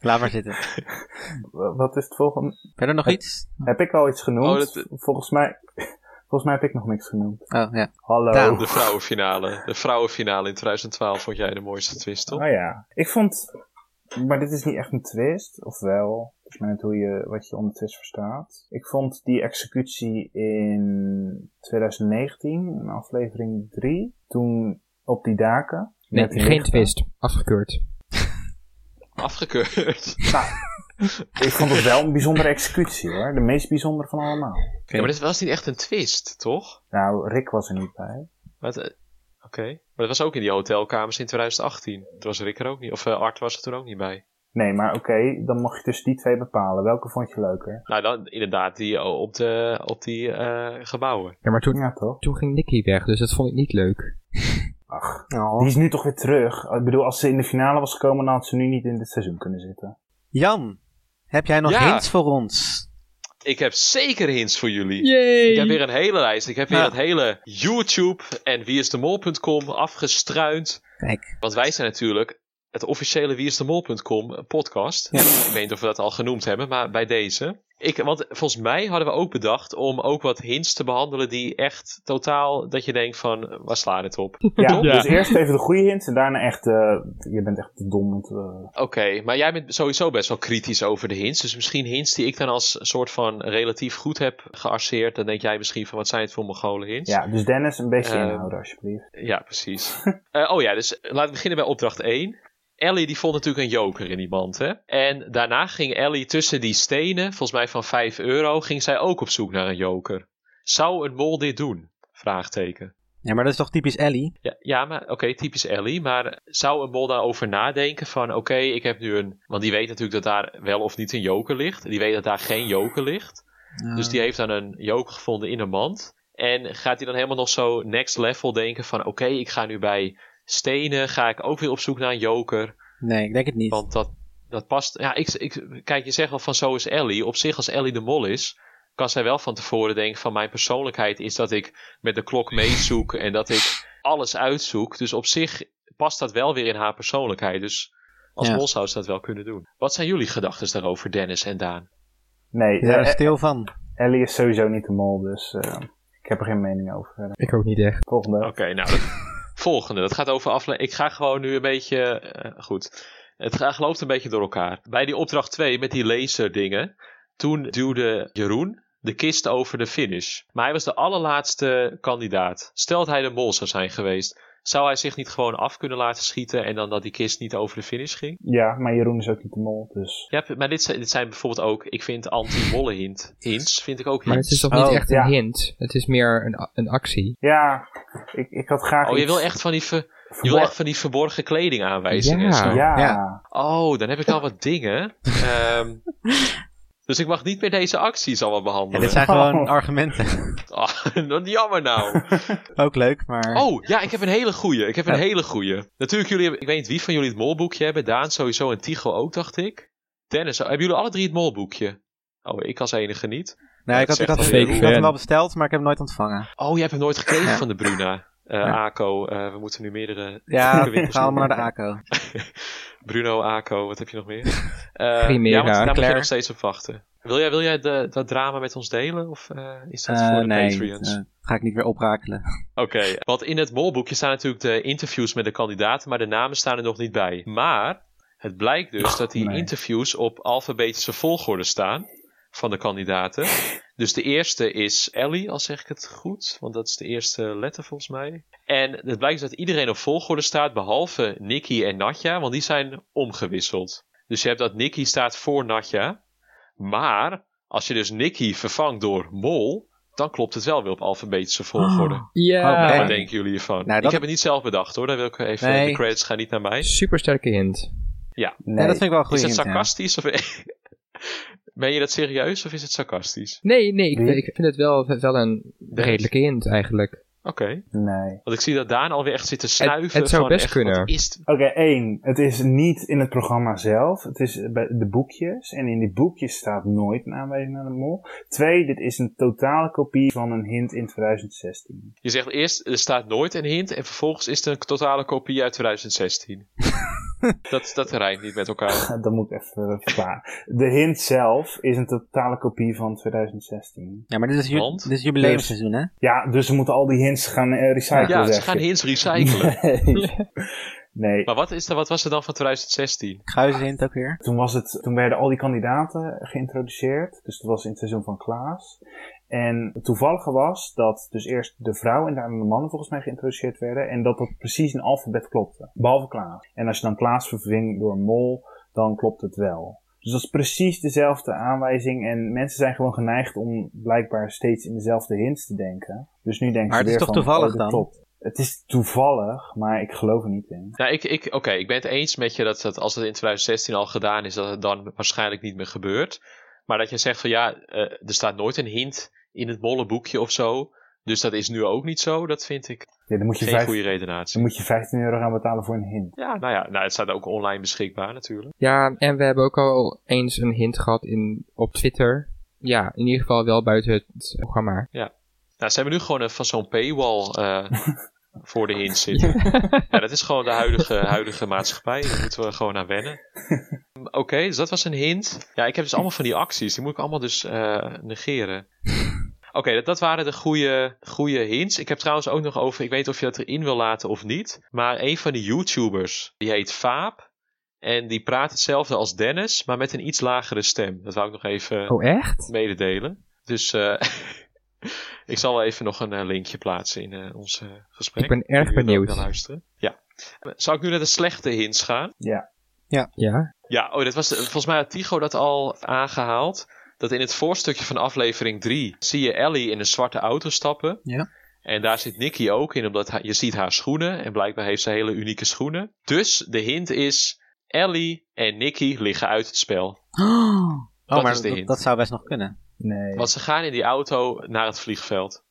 B: Laat maar zitten. Eh,
D: Wa- Wat is het volgende?
B: Verder nog iets?
D: Heb ik al iets genoemd?
A: Oh, dat-
D: Volgens mij... Volgens mij heb ik nog niks genoemd.
B: Oh ja.
D: Hallo.
B: Daan.
A: De vrouwenfinale. De vrouwenfinale in 2012 vond jij de mooiste twist, toch?
D: Oh ja. Ik vond... Maar dit is niet echt een twist, of wel? Dus maar net hoe je, wat je onder twist verstaat. Ik vond die executie in 2019, in aflevering 3, toen op die daken.
C: Nee,
D: met die
C: geen
D: lichten.
C: twist. Afgekeurd.
A: Afgekeurd.
D: Nou, Ik vond het wel een bijzondere executie hoor. De meest bijzondere van allemaal.
A: Ja, maar dit was niet echt een twist, toch?
D: Nou, Rick was er niet bij.
A: Maar het, eh, Oké. Maar dat was ook in die hotelkamers in 2018. Toen was Rick er ook niet. Of eh, Art was er toen ook niet bij.
D: Nee, maar oké, dan mocht je tussen die twee bepalen. Welke vond je leuker?
A: Nou, dan inderdaad die eh, op, de, op die eh, gebouwen.
C: Ja, maar toen,
D: Ja, toch?
C: toen ging Nicky weg, dus dat vond ik niet leuk.
D: Ach,
B: Oh.
D: die is nu toch weer terug. Ik bedoel, als ze in de finale was gekomen, dan had ze nu niet in dit seizoen kunnen zitten.
B: Jan, heb jij nog
A: Ja.
B: hints voor ons?
A: Ik heb zeker hints voor jullie. Ik heb
F: Yay!
A: weer een hele lijst. Ik heb weer
B: Ja.
A: het hele YouTube en wieisdemol.com afgestruind.
B: Kijk.
A: Want wij zijn natuurlijk het officiële wieisdemol.com podcast. Ik weet niet of we dat al genoemd hebben, maar bij deze. Ik, want volgens mij hadden we ook bedacht om ook wat hints te behandelen die echt totaal, dat je denkt van, waar slaat het op?
D: Ja,
C: Ja.
D: dus eerst even de goede hints en daarna echt, eh, je bent echt te eh, dom. om te-
A: Oké, maar jij bent sowieso best wel kritisch over de hints. Dus misschien hints die ik dan als soort van relatief goed heb gearseerd. Dan denk jij misschien van, wat zijn het voor mongolen hints?
D: ja, dus Dennis, een beetje
A: Eh,
D: inhouden alsjeblieft.
A: Ja, precies. Eh, oh ja, dus laten we beginnen bij opdracht 1. Ellie die vond natuurlijk een joker in die mand, hè? En daarna ging Ellie tussen die stenen, volgens mij van 5 euro, ging zij ook op zoek naar een joker. Zou een mol dit doen? Vraagteken.
B: Ja, maar dat is toch typisch Ellie?
A: Ja, ja maar oké, typisch Ellie. Maar zou een mol daarover nadenken van, oké, ik heb nu een... Want die weet natuurlijk dat daar wel of niet een joker ligt. Die weet dat daar geen joker ligt. Dus die heeft dan een joker gevonden in een mand. En gaat hij dan helemaal nog zo next level denken van... Oké, ik ga nu bij stenen, ga ik ook weer op zoek naar een joker.
B: Nee, ik denk het niet.
A: Want dat, dat past... Ja, ik, ik, kijk, je zegt wel van zo is Ellie. Op zich, als Ellie de mol is... kan zij wel van tevoren denken van... Mijn persoonlijkheid is dat ik met de klok meezoek... en dat ik alles uitzoek. Dus op zich past dat wel weer in haar persoonlijkheid. Dus als
B: Ja.
A: mol zou ze dat wel kunnen doen. Wat zijn jullie gedachten daarover, Dennis en Daan?
D: Nee,
B: Ik ben
D: eh,
B: er stil van.
D: Ellie is sowieso niet de mol, dus eh, ik heb er geen mening over.
C: Ik ook niet echt.
D: Volgende.
A: Oké, nou. dat- volgende. Dat gaat over aflevering. Ik ga gewoon nu een beetje. eh, goed. Het gaat, loopt een beetje door elkaar. Bij die opdracht 2 met die laserdingen. Toen duwde Jeroen de kist over de finish. Maar hij was de allerlaatste kandidaat. Stel dat hij de mol zou zijn geweest. Zou hij zich niet gewoon af kunnen laten schieten en dan dat die kist niet over de finish ging?
D: Ja, maar Jeroen is ook niet de mol, dus...
A: Ja, maar dit zijn, dit zijn bijvoorbeeld ook, ik vind anti-molle hint, hints, vind ik ook
C: Maar
A: hints.
C: het is toch
B: Oh,
C: niet echt een
D: ja.
C: hint? Het is meer een, a- een actie.
D: Ja, ik, ik had graag
A: Oh, je
D: iets
A: wil echt van die, ver- je wil
D: verborgen-
A: echt van die verborgen kleding aanwijzingen en zo.
C: Ja.
D: Ja,
B: Ja.
A: Oh, dan heb ik al wat dingen. Ehm, dus ik mag niet meer deze acties allemaal
B: Ja,
A: behandelen.
B: dit zijn gewoon
D: Oh.
B: argumenten.
A: Oh, wat jammer nou.
B: ook leuk, maar.
A: Oh, ja, ik heb een hele goeie. Ik heb een
B: Ja.
A: hele goeie. Natuurlijk, jullie hebben, ik weet niet wie van jullie het molboekje hebben. Daan sowieso en Tigo ook, dacht ik. Dennis, hebben jullie alle drie het molboekje? Oh, ik als enige niet.
B: nee, ik had,
A: dat
B: ik had,
A: zegt
B: ik
A: wel
B: had
A: heel
C: veel.
B: hem wel besteld, maar ik heb hem nooit ontvangen.
A: Oh, je hebt hem nooit gekregen van de Bruna. Eh,
B: Ja.
A: Ako, eh, we moeten nu meerdere...
B: Ja,
A: winkels
B: ga allemaal
A: doen.
B: naar de ACO.
A: Bruno, Ako, wat heb je nog meer? Eh,
C: Primera,
A: ja, want daar moet je
C: Claire.
A: nog steeds op wachten. Wil jij, wil jij de, dat drama met ons delen? Of eh, is dat voor
B: Eh,
A: de
B: nee,
A: Patreons?
B: eh, ga ik niet weer oprakelen.
A: Oké, want in het molboekje staan natuurlijk de interviews met de kandidaten, maar de namen staan er nog niet bij. Maar het blijkt dus dat die
D: nee.
A: interviews op alfabetische volgorde staan van de kandidaten. Dus de eerste is Ellie, al zeg ik het goed, want dat is de eerste letter volgens mij. En het blijkt dus dat iedereen op volgorde staat, behalve Nicky en Natja, want die zijn omgewisseld. Dus je hebt dat Nicky staat voor Natja, maar als je dus Nicky vervangt door Mol, dan klopt het wel weer op alfabetische volgorde.
C: Ja.
B: Oh,
A: Wat
B: nee.
A: denken jullie hiervan?
B: Nou,
A: Ik
B: dat-
A: heb het niet zelf bedacht hoor. Daar wil ik even.
B: Nee.
A: De credits gaan niet naar mij.
C: Supersterke hint.
B: Ja,
D: Nee,
B: dat vind ik wel een goede
A: Is het
B: hint, ja.
A: sarcastisch? Of... ben je dat serieus of is het sarcastisch?
C: Nee, nee, ik,
D: Wie?
C: ik vind het wel, wel een redelijke hint eigenlijk.
A: Oké.
D: nee.
A: Want ik zie dat Daan alweer echt zit te snuiven.
C: het zou
A: van
C: best
A: echt,
C: kunnen.
A: wat Is het?
D: Oké, één. Het is niet in het programma zelf. Het is bij de boekjes. En in die boekjes staat nooit een aanwijzing naar de mol. Twee, dit is een totale kopie van een hint in 2016.
A: Je zegt eerst, er staat nooit een hint. En vervolgens is het een totale kopie uit 2016. dat, dat rijmt niet met elkaar.
D: Dat moet ik even eh, verklaren. De hint zelf is een totale kopie van 2016.
B: Ja, maar dit is, ju-
A: Want?
B: dit is jubileumseizoen, hè?
D: Ja, dus ze moeten al die hints gaan eh, recyclen,
A: Ja, ze
D: zeg
A: gaan
D: je.
A: hints recyclen.
D: nee,
A: maar wat, is er, wat was er dan van 2016?
B: Kruishint ook weer.
D: Toen, was het, toen werden al die kandidaten geïntroduceerd. Dus dat was in het seizoen van Klaas. En het toevallige was dat dus eerst de vrouw en daarna de mannen volgens mij geïntroduceerd werden. En dat dat precies in alfabet klopte. Behalve Klaas. En als je dan Klaas verving door een mol, dan klopt het wel. Dus dat is precies dezelfde aanwijzing. En mensen zijn gewoon geneigd om blijkbaar steeds in dezelfde hints te denken. Dus nu denken
B: Maar
D: ze
B: het is toch
D: weer van,
B: toevallig
D: oh, dit
B: dan?
D: Klopt. Het is toevallig, maar ik geloof er niet in.
A: Nou, ik, ik, oké, ik ben het eens met je dat, dat als het in 2016 al gedaan is, dat het dan waarschijnlijk niet meer gebeurt. Maar dat je zegt van ja, eh, er staat nooit een hint in het bolle boekje of zo. Dus dat is nu ook niet zo. Dat vind ik
D: Ja, dan, moet je
A: geen
D: vijf-
A: goede
D: dan
A: redenatie.
D: moet je 15 euro gaan betalen voor een hint.
A: Ja, nou ja, nou, het staat ook online beschikbaar natuurlijk.
C: Ja, en we hebben ook al eens een hint gehad in, op Twitter. Ja, in ieder geval wel buiten het programma.
A: Nou, ze hebben nu gewoon een, van zo'n paywall eh, voor de hint zitten. Ja, dat is gewoon de huidige, huidige maatschappij. Daar moeten we gewoon aan wennen. Oké, dus dat was een hint. Ja, ik heb dus allemaal van die acties. Die moet ik allemaal dus eh, negeren. Oké, dat, dat waren de goede, goede hints. Ik heb trouwens ook nog over, ik weet niet of je dat erin wil laten of niet. Maar een van de YouTubers, die heet Vaap. En die praat hetzelfde als Dennis, maar met een iets lagere stem. Dat wou ik nog even
C: Oh, echt?
A: mededelen. Dus eh, ik zal wel even nog een eh, linkje plaatsen in eh, ons eh, gesprek.
C: Ik ben
A: Kun je
C: erg
A: dan ook
C: benieuwd.
A: naar luisteren. Ja. Zal ik nu naar de slechte hints gaan?
C: Ja.
A: Ja, oh, dit was, volgens mij had Tigo dat al aangehaald. Dat in het voorstukje van aflevering 3 zie je Ellie in een zwarte auto stappen.
B: Ja.
A: En daar zit Nicky ook in, omdat hij- je ziet haar schoenen. En blijkbaar heeft ze hele unieke schoenen. Dus de hint is, Ellie en Nicky liggen uit het spel.
B: Oh,
A: Dat
B: maar
A: is de
B: dat-
A: hint.
B: dat zou best nog kunnen.
D: Nee.
A: Want ze gaan in die auto naar het vliegveld.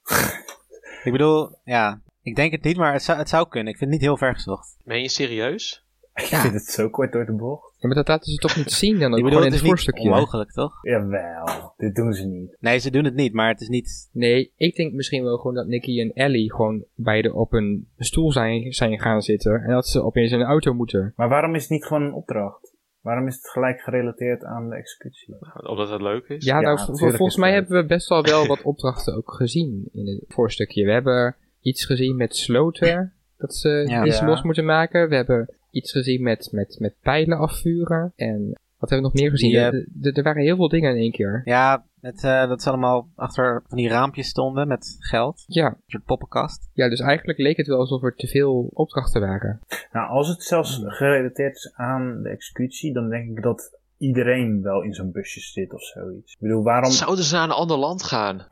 B: Ik bedoel, ja, ik denk het niet, maar het zou, het zou kunnen. Ik vind het niet heel ver gezocht.
A: Meen je serieus?
D: Ik vind het zo kort door de bocht.
C: Ja, maar dat laten ze toch niet zien dan ook
B: ik bedoel,
C: gewoon in
B: het is
C: het
B: niet
C: voorstukje.
B: onmogelijk, toch?
D: Jawel, dit doen ze niet.
B: Nee, ze doen het niet, maar het is niet...
C: Nee, ik denk misschien wel gewoon dat Nicky en Ellie gewoon beide op een stoel zijn, zijn gaan zitten. En dat ze opeens in een auto moeten.
D: Maar waarom is het niet gewoon een opdracht? Waarom is het gelijk gerelateerd aan de executie?
A: Omdat het leuk Dus is?
C: Ja,
D: Ja,
C: nou,
D: natuurlijk
C: vol-
D: is
C: volgens mij
D: het-
C: hebben we best wel wel wat opdrachten ook gezien in het voorstukje. We hebben iets gezien met sloten, dat ze
B: Ja.
C: iets
D: Ja.
C: los moeten maken. We hebben iets gezien met, met, met pijlen afvuren. En wat hebben we nog meer gezien?
B: Ja.
C: Er- er- er waren heel veel dingen in één keer.
B: Ja, het, eh, dat ze allemaal achter van die raampjes stonden met geld.
C: Ja.
B: Een soort poppenkast.
C: ja, dus eigenlijk leek het wel alsof er te veel opdrachten waren.
D: Nou, als het zelfs gerelateerd is aan de executie, dan denk ik dat iedereen wel in zo'n busje zit of zoiets. Ik bedoel, waarom...
A: Zouden ze naar een ander land gaan?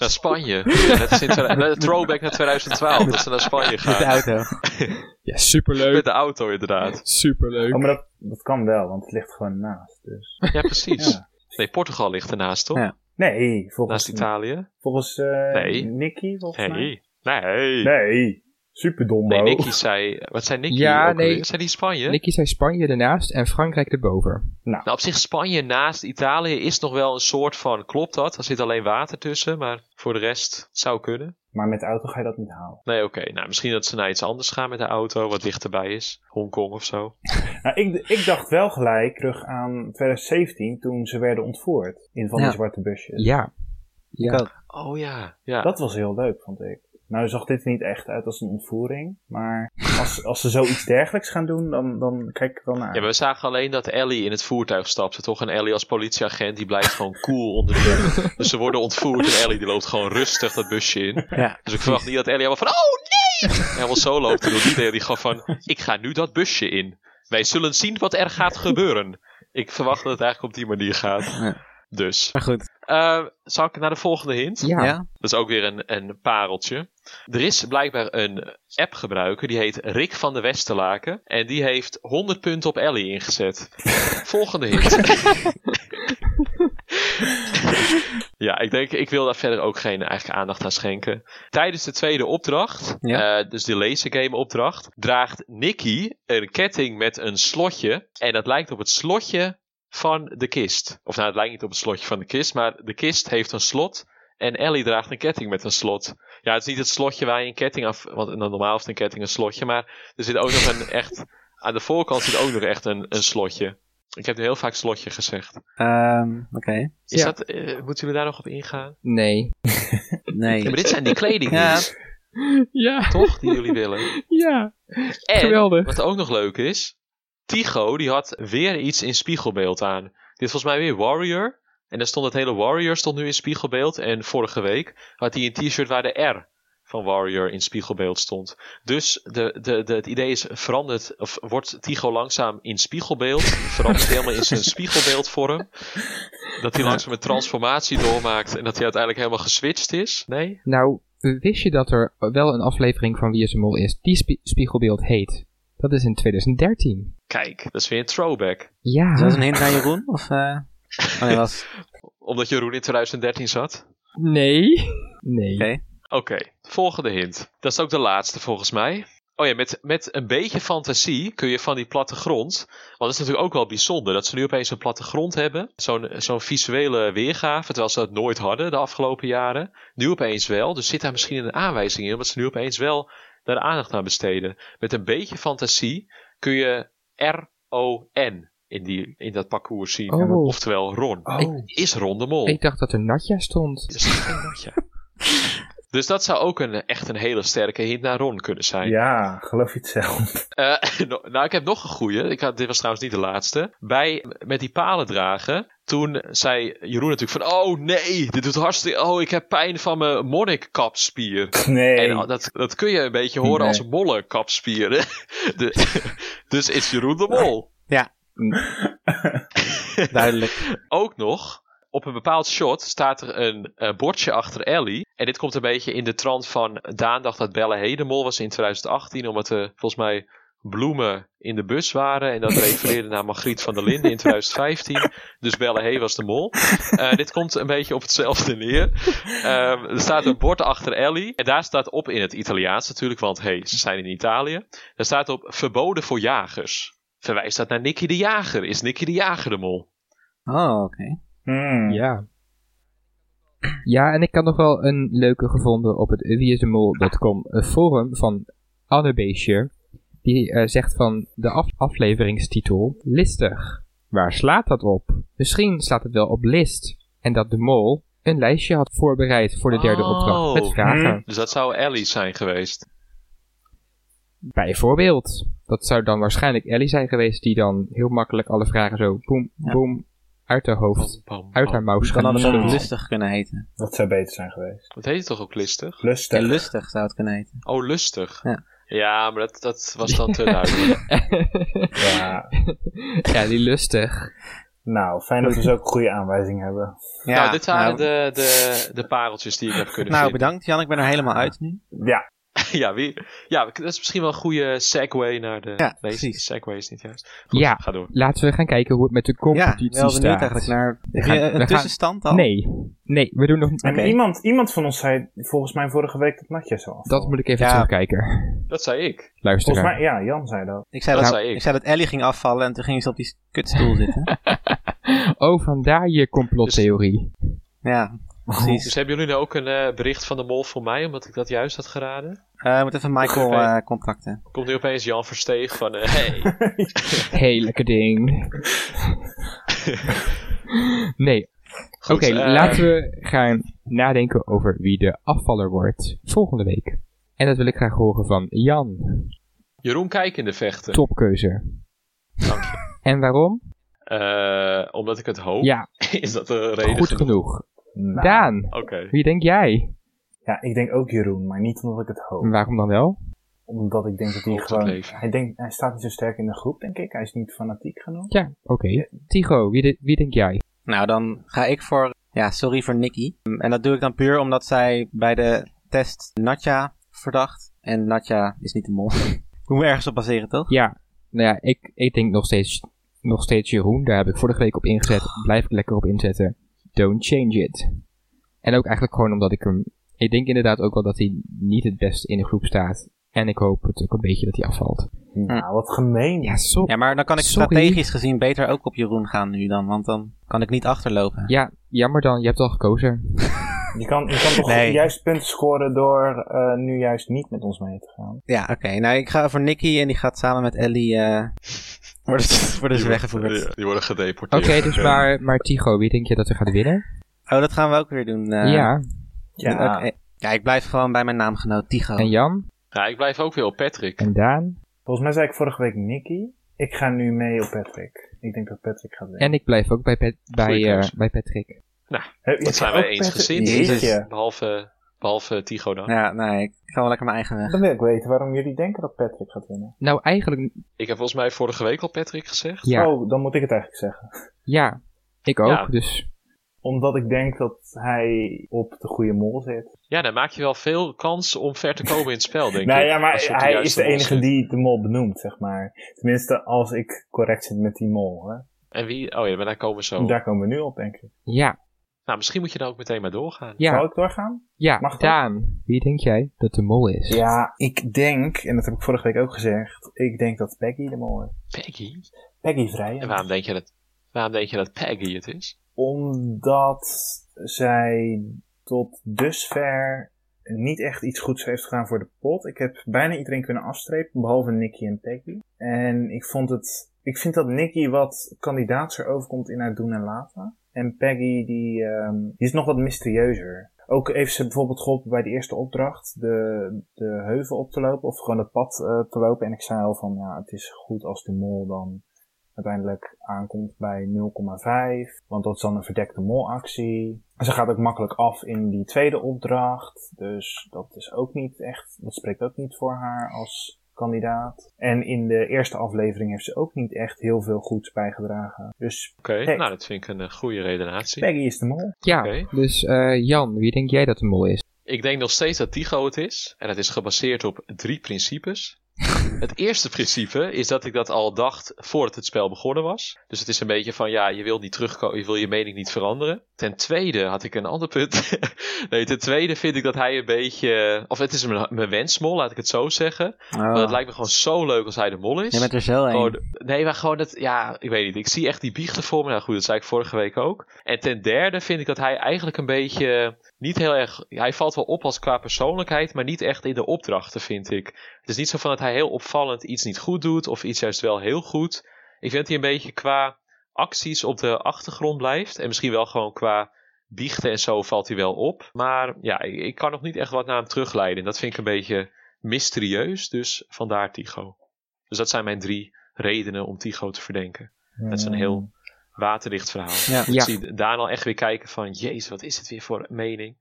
A: naar Spanje. Net als in twa- net een throwback naar 2012, dat ze naar Spanje
B: Met de
A: gaan.
B: auto.
C: Ja,
A: Met
C: superleuk.
A: de auto, inderdaad.
D: Oh,
C: Superleuk.
D: maar dat, dat kan wel, want het ligt gewoon naast. Dus.
A: Ja, precies.
D: Ja.
A: Nee, Portugal ligt ernaast, toch?
B: Ja.
D: Nee,
A: Naast
D: volgens,
A: Italië.
D: volgens eh,
A: Nee.
D: Nicky, volgens mij.
A: Nee. Nee.
D: Nee, superdom.
A: Nee, Nicky zei... Wat zei Nicky
C: Ja,
A: ook
C: nee.
A: alweer? Zei die Spanje?
C: Nicky zei Spanje ernaast en Frankrijk erboven.
A: Nou, op zich Spanje naast Italië is nog wel een soort van... Klopt dat? Er zit alleen water tussen, maar voor de rest het zou kunnen.
D: Maar met de auto ga je dat niet halen.
A: Nee, oké. Nou, misschien dat ze naar iets anders gaan met de auto, wat dichterbij is. Hongkong of zo.
D: Nou, ik, ik dacht wel gelijk terug aan 2017, toen ze werden ontvoerd. In van
B: Ja.
D: die zwarte busjes.
C: Ja.
B: Ik
C: Ja.
B: ook.
A: Oh ja, ja.
D: Dat was heel leuk, vond ik. Nou zag dit er niet echt uit als een ontvoering, maar als, als ze zoiets dergelijks gaan doen, dan, dan kijk ik er wel naar.
A: Ja, maar we zagen alleen dat Ellie in het voertuig stapte, toch? En Ellie als politieagent, die blijft gewoon cool onder de weg. Dus ze worden ontvoerd en Ellie die loopt gewoon rustig dat busje in.
B: Ja.
A: Dus ik verwacht niet dat Ellie helemaal van, oh nee! En helemaal zo loopt. Terwijl die deed die gewoon van, ik ga nu dat busje in. Wij zullen zien wat er gaat gebeuren. Ik verwacht dat het eigenlijk op die manier gaat. Dus.
B: Maar goed,
A: Eh, zal ik naar de volgende hint?
C: Ja.
B: ja?
A: Dat is ook weer een, een pareltje. Er is blijkbaar een app-gebruiker, die heet Rick van de Westerlaken. En die heeft 100 punten op Ellie ingezet. Volgende hint. ja, ik denk, ik wil daar verder ook geen eigen aandacht aan schenken. Tijdens de tweede opdracht,
B: Ja.
A: eh, dus de laser game opdracht, draagt Nicky een ketting met een slotje. En dat lijkt op het slotje van de kist. Of nou, het lijkt niet op het slotje van de kist, maar de kist heeft een slot. En Ellie draagt een ketting met een slot. Ja, het is niet het slotje waar je een ketting af. Want normaal heeft een ketting een slotje. Maar er zit ook nog een echt. Aan de voorkant zit ook nog echt een, een slotje. Ik heb nu heel vaak slotje gezegd.
B: Ehm, Oké,
A: Is
C: Ja.
A: dat, eh, moeten jullie daar nog op ingaan?
C: Nee.
B: nee.
A: Ja, maar dit zijn die kledingjes,
C: Ja,
A: toch? Die jullie willen.
C: ja.
A: En
C: Geweldig.
A: wat ook nog leuk is. Tycho die had weer iets in spiegelbeeld aan. Dit is volgens mij weer Warrior. En daar stond het hele Warrior stond nu in spiegelbeeld. En vorige week had hij een t-shirt waar de R van Warrior in spiegelbeeld stond. Dus de, de, de, het idee is veranderd, of wordt Tycho langzaam in spiegelbeeld, verandert hij helemaal in zijn spiegelbeeldvorm. Dat hij langzaam een transformatie doormaakt en dat hij uiteindelijk helemaal geswitcht is. Nee?
C: Nou, wist je dat er wel een aflevering van Wie is de Mol is die spie- Spiegelbeeld heet? Dat is in 2013.
A: Kijk, dat is weer een throwback.
C: Ja.
B: Is dat een hint naar Jeroen? Of, eh Oh nee, was...
A: Omdat Jeroen in 2013 zat.
C: Nee. Nee.
B: Oké.
A: Oké, volgende hint. Dat is ook de laatste volgens mij. Oh ja, met, met een beetje fantasie kun je van die plattegrond. Want dat is natuurlijk ook wel bijzonder dat ze nu opeens een plattegrond hebben. Zo'n zo'n visuele weergave, terwijl ze dat nooit hadden de afgelopen jaren. Nu opeens wel. Dus zit daar misschien een aanwijzing in, omdat ze nu opeens wel daar aandacht aan besteden. Met een beetje fantasie kun je R-O-N in, die, in dat parcours zien.
C: Oh.
A: Oftewel Ron.
D: Oh.
A: Is Ron de Mol.
C: Ik dacht dat er Natja stond.
A: Dus, dus dat zou ook een, echt een hele sterke hint naar Ron kunnen zijn.
D: Ja, geloof je het zelf.
A: Eh, no- nou, ik heb nog een goeie. Ik had, dit was trouwens niet de laatste. Bij, met die palen dragen. Toen zei Jeroen natuurlijk van... Oh nee, dit doet hartstikke... Oh, ik heb pijn van mijn monnikkapspier.
D: Nee.
A: En al- dat, dat kun je een beetje horen
D: Nee.
A: als mollenkapspieren. De- dus is Jeroen de Mol.
B: duidelijk.
A: Ook nog, op een bepaald shot staat er een eh, bordje achter Ellie. En dit komt een beetje in de trant van Daan dacht dat Belle Hedemol was in 2018. Omdat er volgens mij bloemen in de bus waren. En dat refereerde naar Margriet van der Linden in 2015. Dus Belle Hey was de mol. Eh, dit komt een beetje op hetzelfde neer. Ehm, er staat een bord achter Ellie. En daar staat op in het Italiaans natuurlijk. Want hey, ze zijn in Italië. Daar staat op verboden voor jagers. Verwijst dat naar Nicky de Jager? Is Nicky de Jager de mol?
B: Oh, oké.
D: Hmm.
C: Ja. Ja, en ik had nog wel een leuke gevonden op het wieisdemol.com eh, forum van Anne Beesje. Die eh, zegt van de af- afleveringstitel listig. Waar slaat dat op? Misschien slaat het wel op list. En dat de mol een lijstje had voorbereid voor de derde
A: Oh.
C: opdracht met vragen.
A: Dus dat zou Ellie zijn geweest.
C: Bijvoorbeeld. Dat zou dan waarschijnlijk Ellie zijn geweest die dan heel makkelijk alle vragen zo boem,
B: Ja.
C: boem, uit haar hoofd,
A: Bam, bam,
C: uit
A: bam.
C: haar mouw
B: Kan anders ook
C: schudden.
B: lustig kunnen heten.
D: Dat zou beter zijn geweest.
A: Dat heet het toch ook listig?
D: Lustig.
B: Ja, lustig zou het kunnen heten.
A: Oh, lustig.
B: Ja.
A: Ja, maar dat, dat was dan te duidelijk.
D: Ja.
C: ja, die lustig.
D: Nou, fijn dat we zo ook goede aanwijzing hebben.
B: Ja,
A: nou, dit waren
B: nou,
A: de, de, de pareltjes die ik heb kunnen
B: nou,
A: vinden.
B: bedankt Jan, ik ben er helemaal uit nu.
D: Ja,
A: ja, wie, ja, dat is misschien wel een goede segue naar de...
B: Ja,
A: nee,
B: precies.
A: segue is niet juist.
C: Ja.
A: Ga door.
C: Laten we gaan kijken hoe het met de
B: Ja,
C: competitie
B: wel benieuwd
C: staat.
B: eigenlijk naar... Heb
C: gaan-
B: je
C: we
B: een
C: gaan-
B: tussenstand al?
C: Nee, nee, we doen nog niet.
D: en
B: Oké.
D: iemand, iemand van ons zei volgens mij vorige week dat Natje zo af.
C: Dat moet ik even
B: Ja.
C: terugkijken.
A: Dat zei ik.
C: Luisteren.
D: Volgens mij, ja, Jan zei dat.
B: Ik zei
A: Dat
B: dat,
A: zei ik.
B: ik zei dat Ellie ging afvallen en toen ging ze op die kutstoel zitten.
C: Oh, vandaar je complottheorie.
B: Ja,
C: Oh.
B: precies.
A: Dus hebben jullie nou ook een eh, bericht van de mol voor mij, omdat ik dat juist had geraden?
B: Eh, we moeten even Michael
A: Oké.
B: eh, contacten.
A: Komt nu opeens Jan Versteeg van... eh, hey.
B: Dus-
C: Hey, lekker ding. nee. Oké,
A: Goed, eh,
C: laten we gaan nadenken over wie de afvaller wordt volgende week. En dat wil ik graag horen van Jan.
A: Jeroen Kijk in de vechten.
C: Topkeuze.
A: Dank
C: En waarom?
A: Eh, omdat ik het hoop.
C: Ja,
A: Is dat de reden?
C: goed
A: genoeg?
C: genoeg.
D: Nou,
C: Daan,
A: Oké.
C: wie denk jij?
D: Ja, ik denk ook Jeroen, maar niet omdat ik het hoop.
C: En waarom dan wel?
D: Omdat ik denk dat hij
A: Hoop tot
D: gewoon...
A: leven.
D: Hij, denkt, hij staat niet zo sterk in de groep, denk ik. Hij is niet fanatiek genoeg.
C: Ja, oké. Tigo, wie, de- wie denk jij?
B: Nou, dan ga ik voor, ja, sorry voor Nicky. Mm, En dat doe ik dan puur omdat zij bij de test Natja verdacht. En Natja is niet de mol. Hoe we ergens op baseren, toch?
C: Ja, nou ja, ik, ik denk nog steeds, nog steeds Jeroen. Daar heb ik vorige week op ingezet. Blijf ik lekker op inzetten. Don't change it. En ook eigenlijk gewoon omdat ik hem... Ik denk inderdaad ook wel dat hij niet het beste in de groep staat. En ik hoop het ook een beetje dat hij afvalt.
D: Nou, wat gemeen.
C: Hm. Ja, zo.
B: Ja, maar dan kan ik
C: Sorry.
B: strategisch gezien beter ook op Jeroen gaan nu dan, want dan kan ik niet achterlopen.
C: Ja, jammer dan. Je hebt al gekozen.
D: Je kan, je kan toch
B: Nee.
D: juist punten scoren door eh, nu juist niet met ons mee te gaan.
B: Ja, oké. Nou, ik ga voor Nicky en die gaat samen met Ellie. eh worden ze, worden ze
A: Die
B: weggevoerd.
A: worden- Die worden gedeporteerd.
C: Oké, dus maar, maar Tigo, wie denk je dat er gaat winnen?
B: Oh, dat gaan we ook weer doen. eh.
C: ja.
D: Ja,
B: Oké. ja, ik blijf gewoon bij mijn naamgenoot Tigo.
C: En Jan?
A: Ja, ik blijf ook weer op Patrick.
C: En Daan?
D: volgens mij zei ik vorige week Nicky. Ik ga nu mee op Patrick. Ik denk dat Patrick gaat winnen.
C: En ik blijf ook bij, Pat- bij,
A: Goeie
C: eh,
A: keus.
C: bij Patrick.
D: Heb je
A: Dat zijn
D: ook
A: we eens
D: Patrick?
A: gezien.
D: Jeetje.
A: Behalve, behalve Tigo dan.
B: Ja, nee, ik ga wel lekker mijn eigen weg.
D: Dan wil ik weten waarom jullie denken dat Patrick gaat winnen.
C: Nou, eigenlijk...
A: Ik heb volgens mij vorige week al Patrick gezegd.
C: Ja,
D: Oh, dan moet ik het eigenlijk zeggen.
C: ja ik ook.
A: Ja.
C: Dus
D: Omdat ik denk dat hij op de goede mol zit.
A: Ja, dan maak je wel veel kans om ver te komen in het spel, denk
D: nou
A: ik.
D: ja,
A: Als je
D: maar
A: op
D: hij
A: juiste
D: is de
A: mol
D: enige
A: zit.
D: die de mol benoemt, zeg maar. Tenminste, als ik correct zit met die mol. Hè.
A: En wie... Oh ja, maar daar komen we zo.
D: Daar komen we nu op, denk ik.
C: ja,
A: Nou, misschien moet je daar ook meteen maar doorgaan.
C: ja.
D: Zal ik doorgaan?
C: Ja,
D: Mag dat?
C: Daan, wie denk jij dat de mol is?
D: Ja, ik denk, en dat heb ik vorige week ook gezegd, ik denk dat Peggy de mol is.
A: Peggy?
D: Peggy Vrij.
A: En waarom denk je dat... Waarom denk je dat Peggy het is?
D: Omdat zij tot dusver niet echt iets goeds heeft gedaan voor de pot. Ik heb bijna iedereen kunnen afstrepen, behalve Nicky en Peggy. En ik vond het. Ik vind dat Nicky wat kandidaatser overkomt in haar doen en laten. En Peggy, die, ehm, die is nog wat mysterieuzer. Ook heeft ze bijvoorbeeld geholpen bij de eerste opdracht de, de heuvel op te lopen of gewoon het pad eh, te lopen. En ik zei al van, ja, het is goed als de mol dan uiteindelijk aankomt bij 0,5. Want dat is dan een verdekte molactie. En ze gaat ook makkelijk af in die tweede opdracht. Dus dat is ook niet echt, dat spreekt ook niet voor haar als kandidaat. En in de eerste aflevering heeft ze ook niet echt heel veel goeds bijgedragen. Dus
A: Oké,
D: Hey.
A: nou dat vind ik een eh, goede redenatie.
D: Peggy is de mol.
C: Ja,
A: Oké.
C: dus eh, Jan, wie denk jij dat de mol is?
A: Ik denk nog steeds dat Tigo het is. En dat is gebaseerd op drie principes. het eerste principe is dat ik dat al dacht voordat het spel begonnen was. Dus het is een beetje van, ja, je wil niet terugkomen, je wil je mening niet veranderen. Ten tweede had ik een ander punt. nee, ten tweede vind ik dat hij een beetje... Of het is mijn, mijn wensmol, laat ik het zo zeggen.
B: Oh.
A: Maar het lijkt me gewoon zo leuk als hij de mol is. Oh,
B: Je bent er zo een.
A: Gewoon- nee, maar gewoon dat, ja, ik weet niet. Ik zie echt die biechten voor me. Nou goed, dat zei ik vorige week ook. En ten derde vind ik dat hij eigenlijk een beetje niet heel erg. Hij valt wel op als qua persoonlijkheid, maar niet echt in de opdrachten, vind ik. Het is niet zo van dat hij heel opvallend iets niet goed doet of iets juist wel heel goed. Ik vind dat hij een beetje qua acties op de achtergrond blijft. En misschien wel gewoon qua biechten en zo valt hij wel op. Maar ja, ik, ik kan nog niet echt wat naar hem terugleiden. En dat vind ik een beetje mysterieus. Dus vandaar Tigo. Dus dat zijn mijn drie redenen om Tigo te verdenken. Dat
D: Mm. Hmm.
A: is een heel waterdicht verhaal.
B: Ja.
A: Ik
C: Ja.
A: zie Daan al echt weer kijken van... Jezus, wat is het weer voor mening?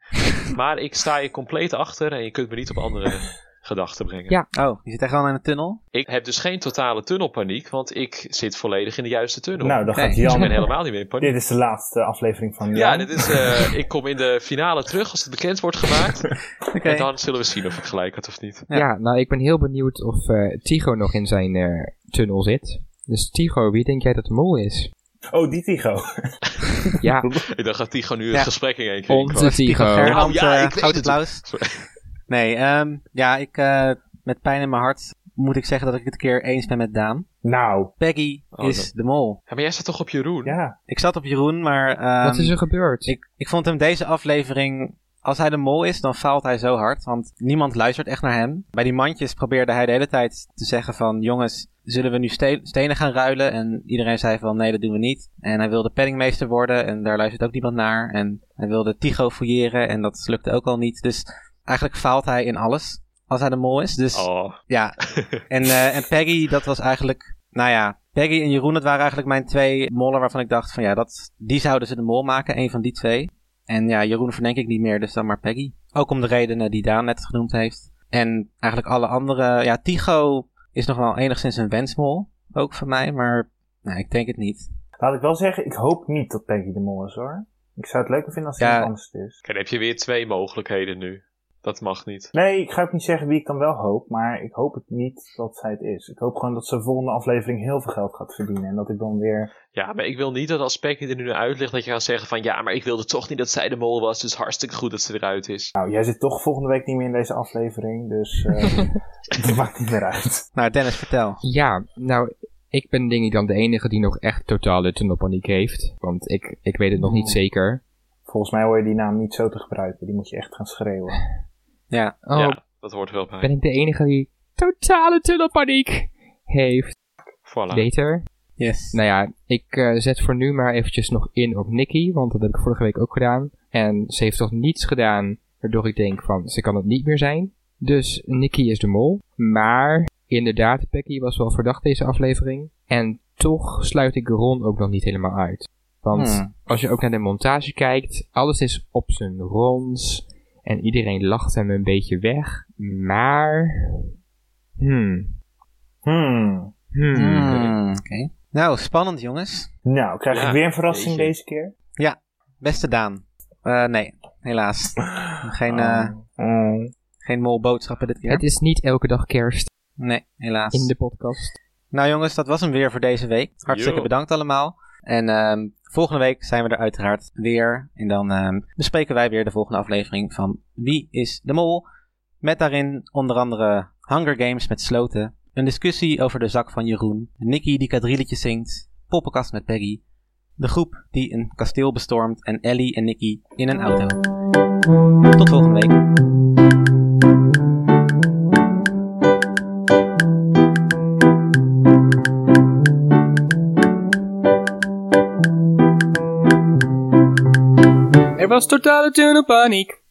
A: maar ik sta je compleet achter en je kunt me niet op andere gedachten brengen.
C: Ja.
B: Oh, je zit echt wel in de tunnel?
A: Ik heb dus geen totale tunnelpaniek, want ik zit volledig in de juiste tunnel.
D: Nou, dan
B: Kijk,
D: gaat
A: Dus ik ben
D: Jan.
A: helemaal niet meer in paniek.
D: Dit is de laatste aflevering van
A: Ja,
D: Jan.
A: dit is, eh, ik kom in de finale terug als het bekend wordt gemaakt.
B: Oké.
A: En dan zullen we zien of ik gelijk had of niet.
B: Ja.
C: Ja, nou ik ben heel benieuwd of eh Tigo nog in zijn eh, tunnel zit. Dus Tigo, wie denk jij dat de mol is?
D: Oh, die Tigo.
C: Ja,
A: Ik dacht dat die gewoon nu het
B: Ja.
A: gesprek in één keer in kwam.
C: onze Tigo.
B: Gerhand,
A: Oh, ja,
B: eh,
A: ik weet
B: Grote
A: het.
B: Klaus. Nee, ehm, ja, ik, eh, met pijn in mijn hart moet ik zeggen dat ik het een keer eens ben met Daan.
D: Nou,
B: Peggy
A: Oh,
B: is
A: dat-
B: de mol.
A: Ja, maar jij staat toch op Jeroen?
D: ja.
B: Ik zat op Jeroen, maar ehm,
C: Wat is er gebeurd?
B: ik, ik vond hem deze aflevering... Als hij de mol is, dan faalt hij zo hard, want niemand luistert echt naar hem. Bij die mandjes probeerde hij de hele tijd te zeggen van... Jongens, zullen we nu ste- stenen gaan ruilen? En iedereen zei van nee, dat doen we niet. En hij wilde penningmeester worden en daar luistert ook niemand naar. En hij wilde Tigo fouilleren en dat lukte ook al niet. Dus eigenlijk faalt hij in alles als hij de mol is. Dus
A: Oh,
B: ja, en, eh, en Peggy, dat was eigenlijk. Nou ja, Peggy en Jeroen, dat waren eigenlijk mijn twee mollen waarvan ik dacht van ja, dat, die zouden ze de mol maken, een van die twee. En ja, Jeroen verdenk ik niet meer, dus dan maar Peggy. Ook om de redenen die Daan net genoemd heeft. En eigenlijk alle andere. Ja, Tigo is nog wel enigszins een wensmol, ook van mij, maar nou, ik denk het niet.
D: Laat ik wel zeggen, ik hoop niet dat Peggy de Mol is hoor. Ik zou het leuker vinden als het
B: Ja.
D: iemand anders het is.
A: Kijk, dan heb je weer twee mogelijkheden nu. Dat mag niet.
D: Nee, ik ga ook niet zeggen wie ik dan wel hoop, maar ik hoop het niet dat zij het is. Ik hoop gewoon dat ze de volgende aflevering heel veel geld gaat verdienen en dat ik dan weer...
A: Ja, maar ik wil niet dat als Peggy er nu naar uitlegt dat je gaat zeggen van ja, maar ik wilde toch niet dat zij de mol was, dus hartstikke goed dat ze eruit is.
D: Nou, jij zit toch volgende week niet meer in deze aflevering, dus eh dat maakt niet meer uit.
B: Nou, Dennis, vertel.
C: Ja, nou, ik ben denk ik dan de enige die nog echt totale tunnelpaniek heeft. Want ik, ik weet het nog niet
D: Oh.
C: zeker.
D: Volgens mij hoor je die naam niet zo te gebruiken, die moet je echt gaan schreeuwen.
B: Ja,
C: Oh,
A: Ja, dat hoort er wel bij.
C: ben ik de enige die totale tunnelpaniek heeft.
A: Voilà.
C: Beter.
B: yes.
C: Nou ja, ik eh, zet voor nu maar eventjes nog in op Nikki, want dat heb ik vorige week ook gedaan. En ze heeft toch niets gedaan waardoor ik denk van, ze kan het niet meer zijn. Dus Nikki is de mol. Maar inderdaad, Becky was wel verdacht deze aflevering. En toch sluit ik Ron ook nog niet helemaal uit. Want
B: Hmm.
C: als je ook naar de montage kijkt, alles is op zijn rons. En iedereen lacht hem een beetje weg. Maar... Hmm.
D: Hmm.
C: Hmm.
B: Hmm, Oké. Nou, spannend jongens.
D: Nou, krijg
A: Ja,
D: ik weer een verrassing
A: jeetje.
D: deze keer?
B: Beste Daan. Eh, nee, helaas. Geen, eh
D: Oh. Mm.
B: geen molboodschappen dit keer.
C: Het is niet elke dag kerst
B: Nee, helaas.
C: in de podcast.
B: Nou jongens, dat was hem weer voor deze week. Hartstikke
A: Yo.
B: bedankt allemaal. En ehm, volgende week zijn we er uiteraard weer. En dan ehm, bespreken wij weer de volgende aflevering van Wie is de Mol? Met daarin onder andere Hunger Games met sloten. Een discussie over de zak van Jeroen. Nicky die kadrielletjes zingt. Poppenkast met Peggy. De groep die een kasteel bestormt. En Ellie en Nicky in een auto. Tot volgende week.
C: E.
F: Er was totale tunnelpaniek.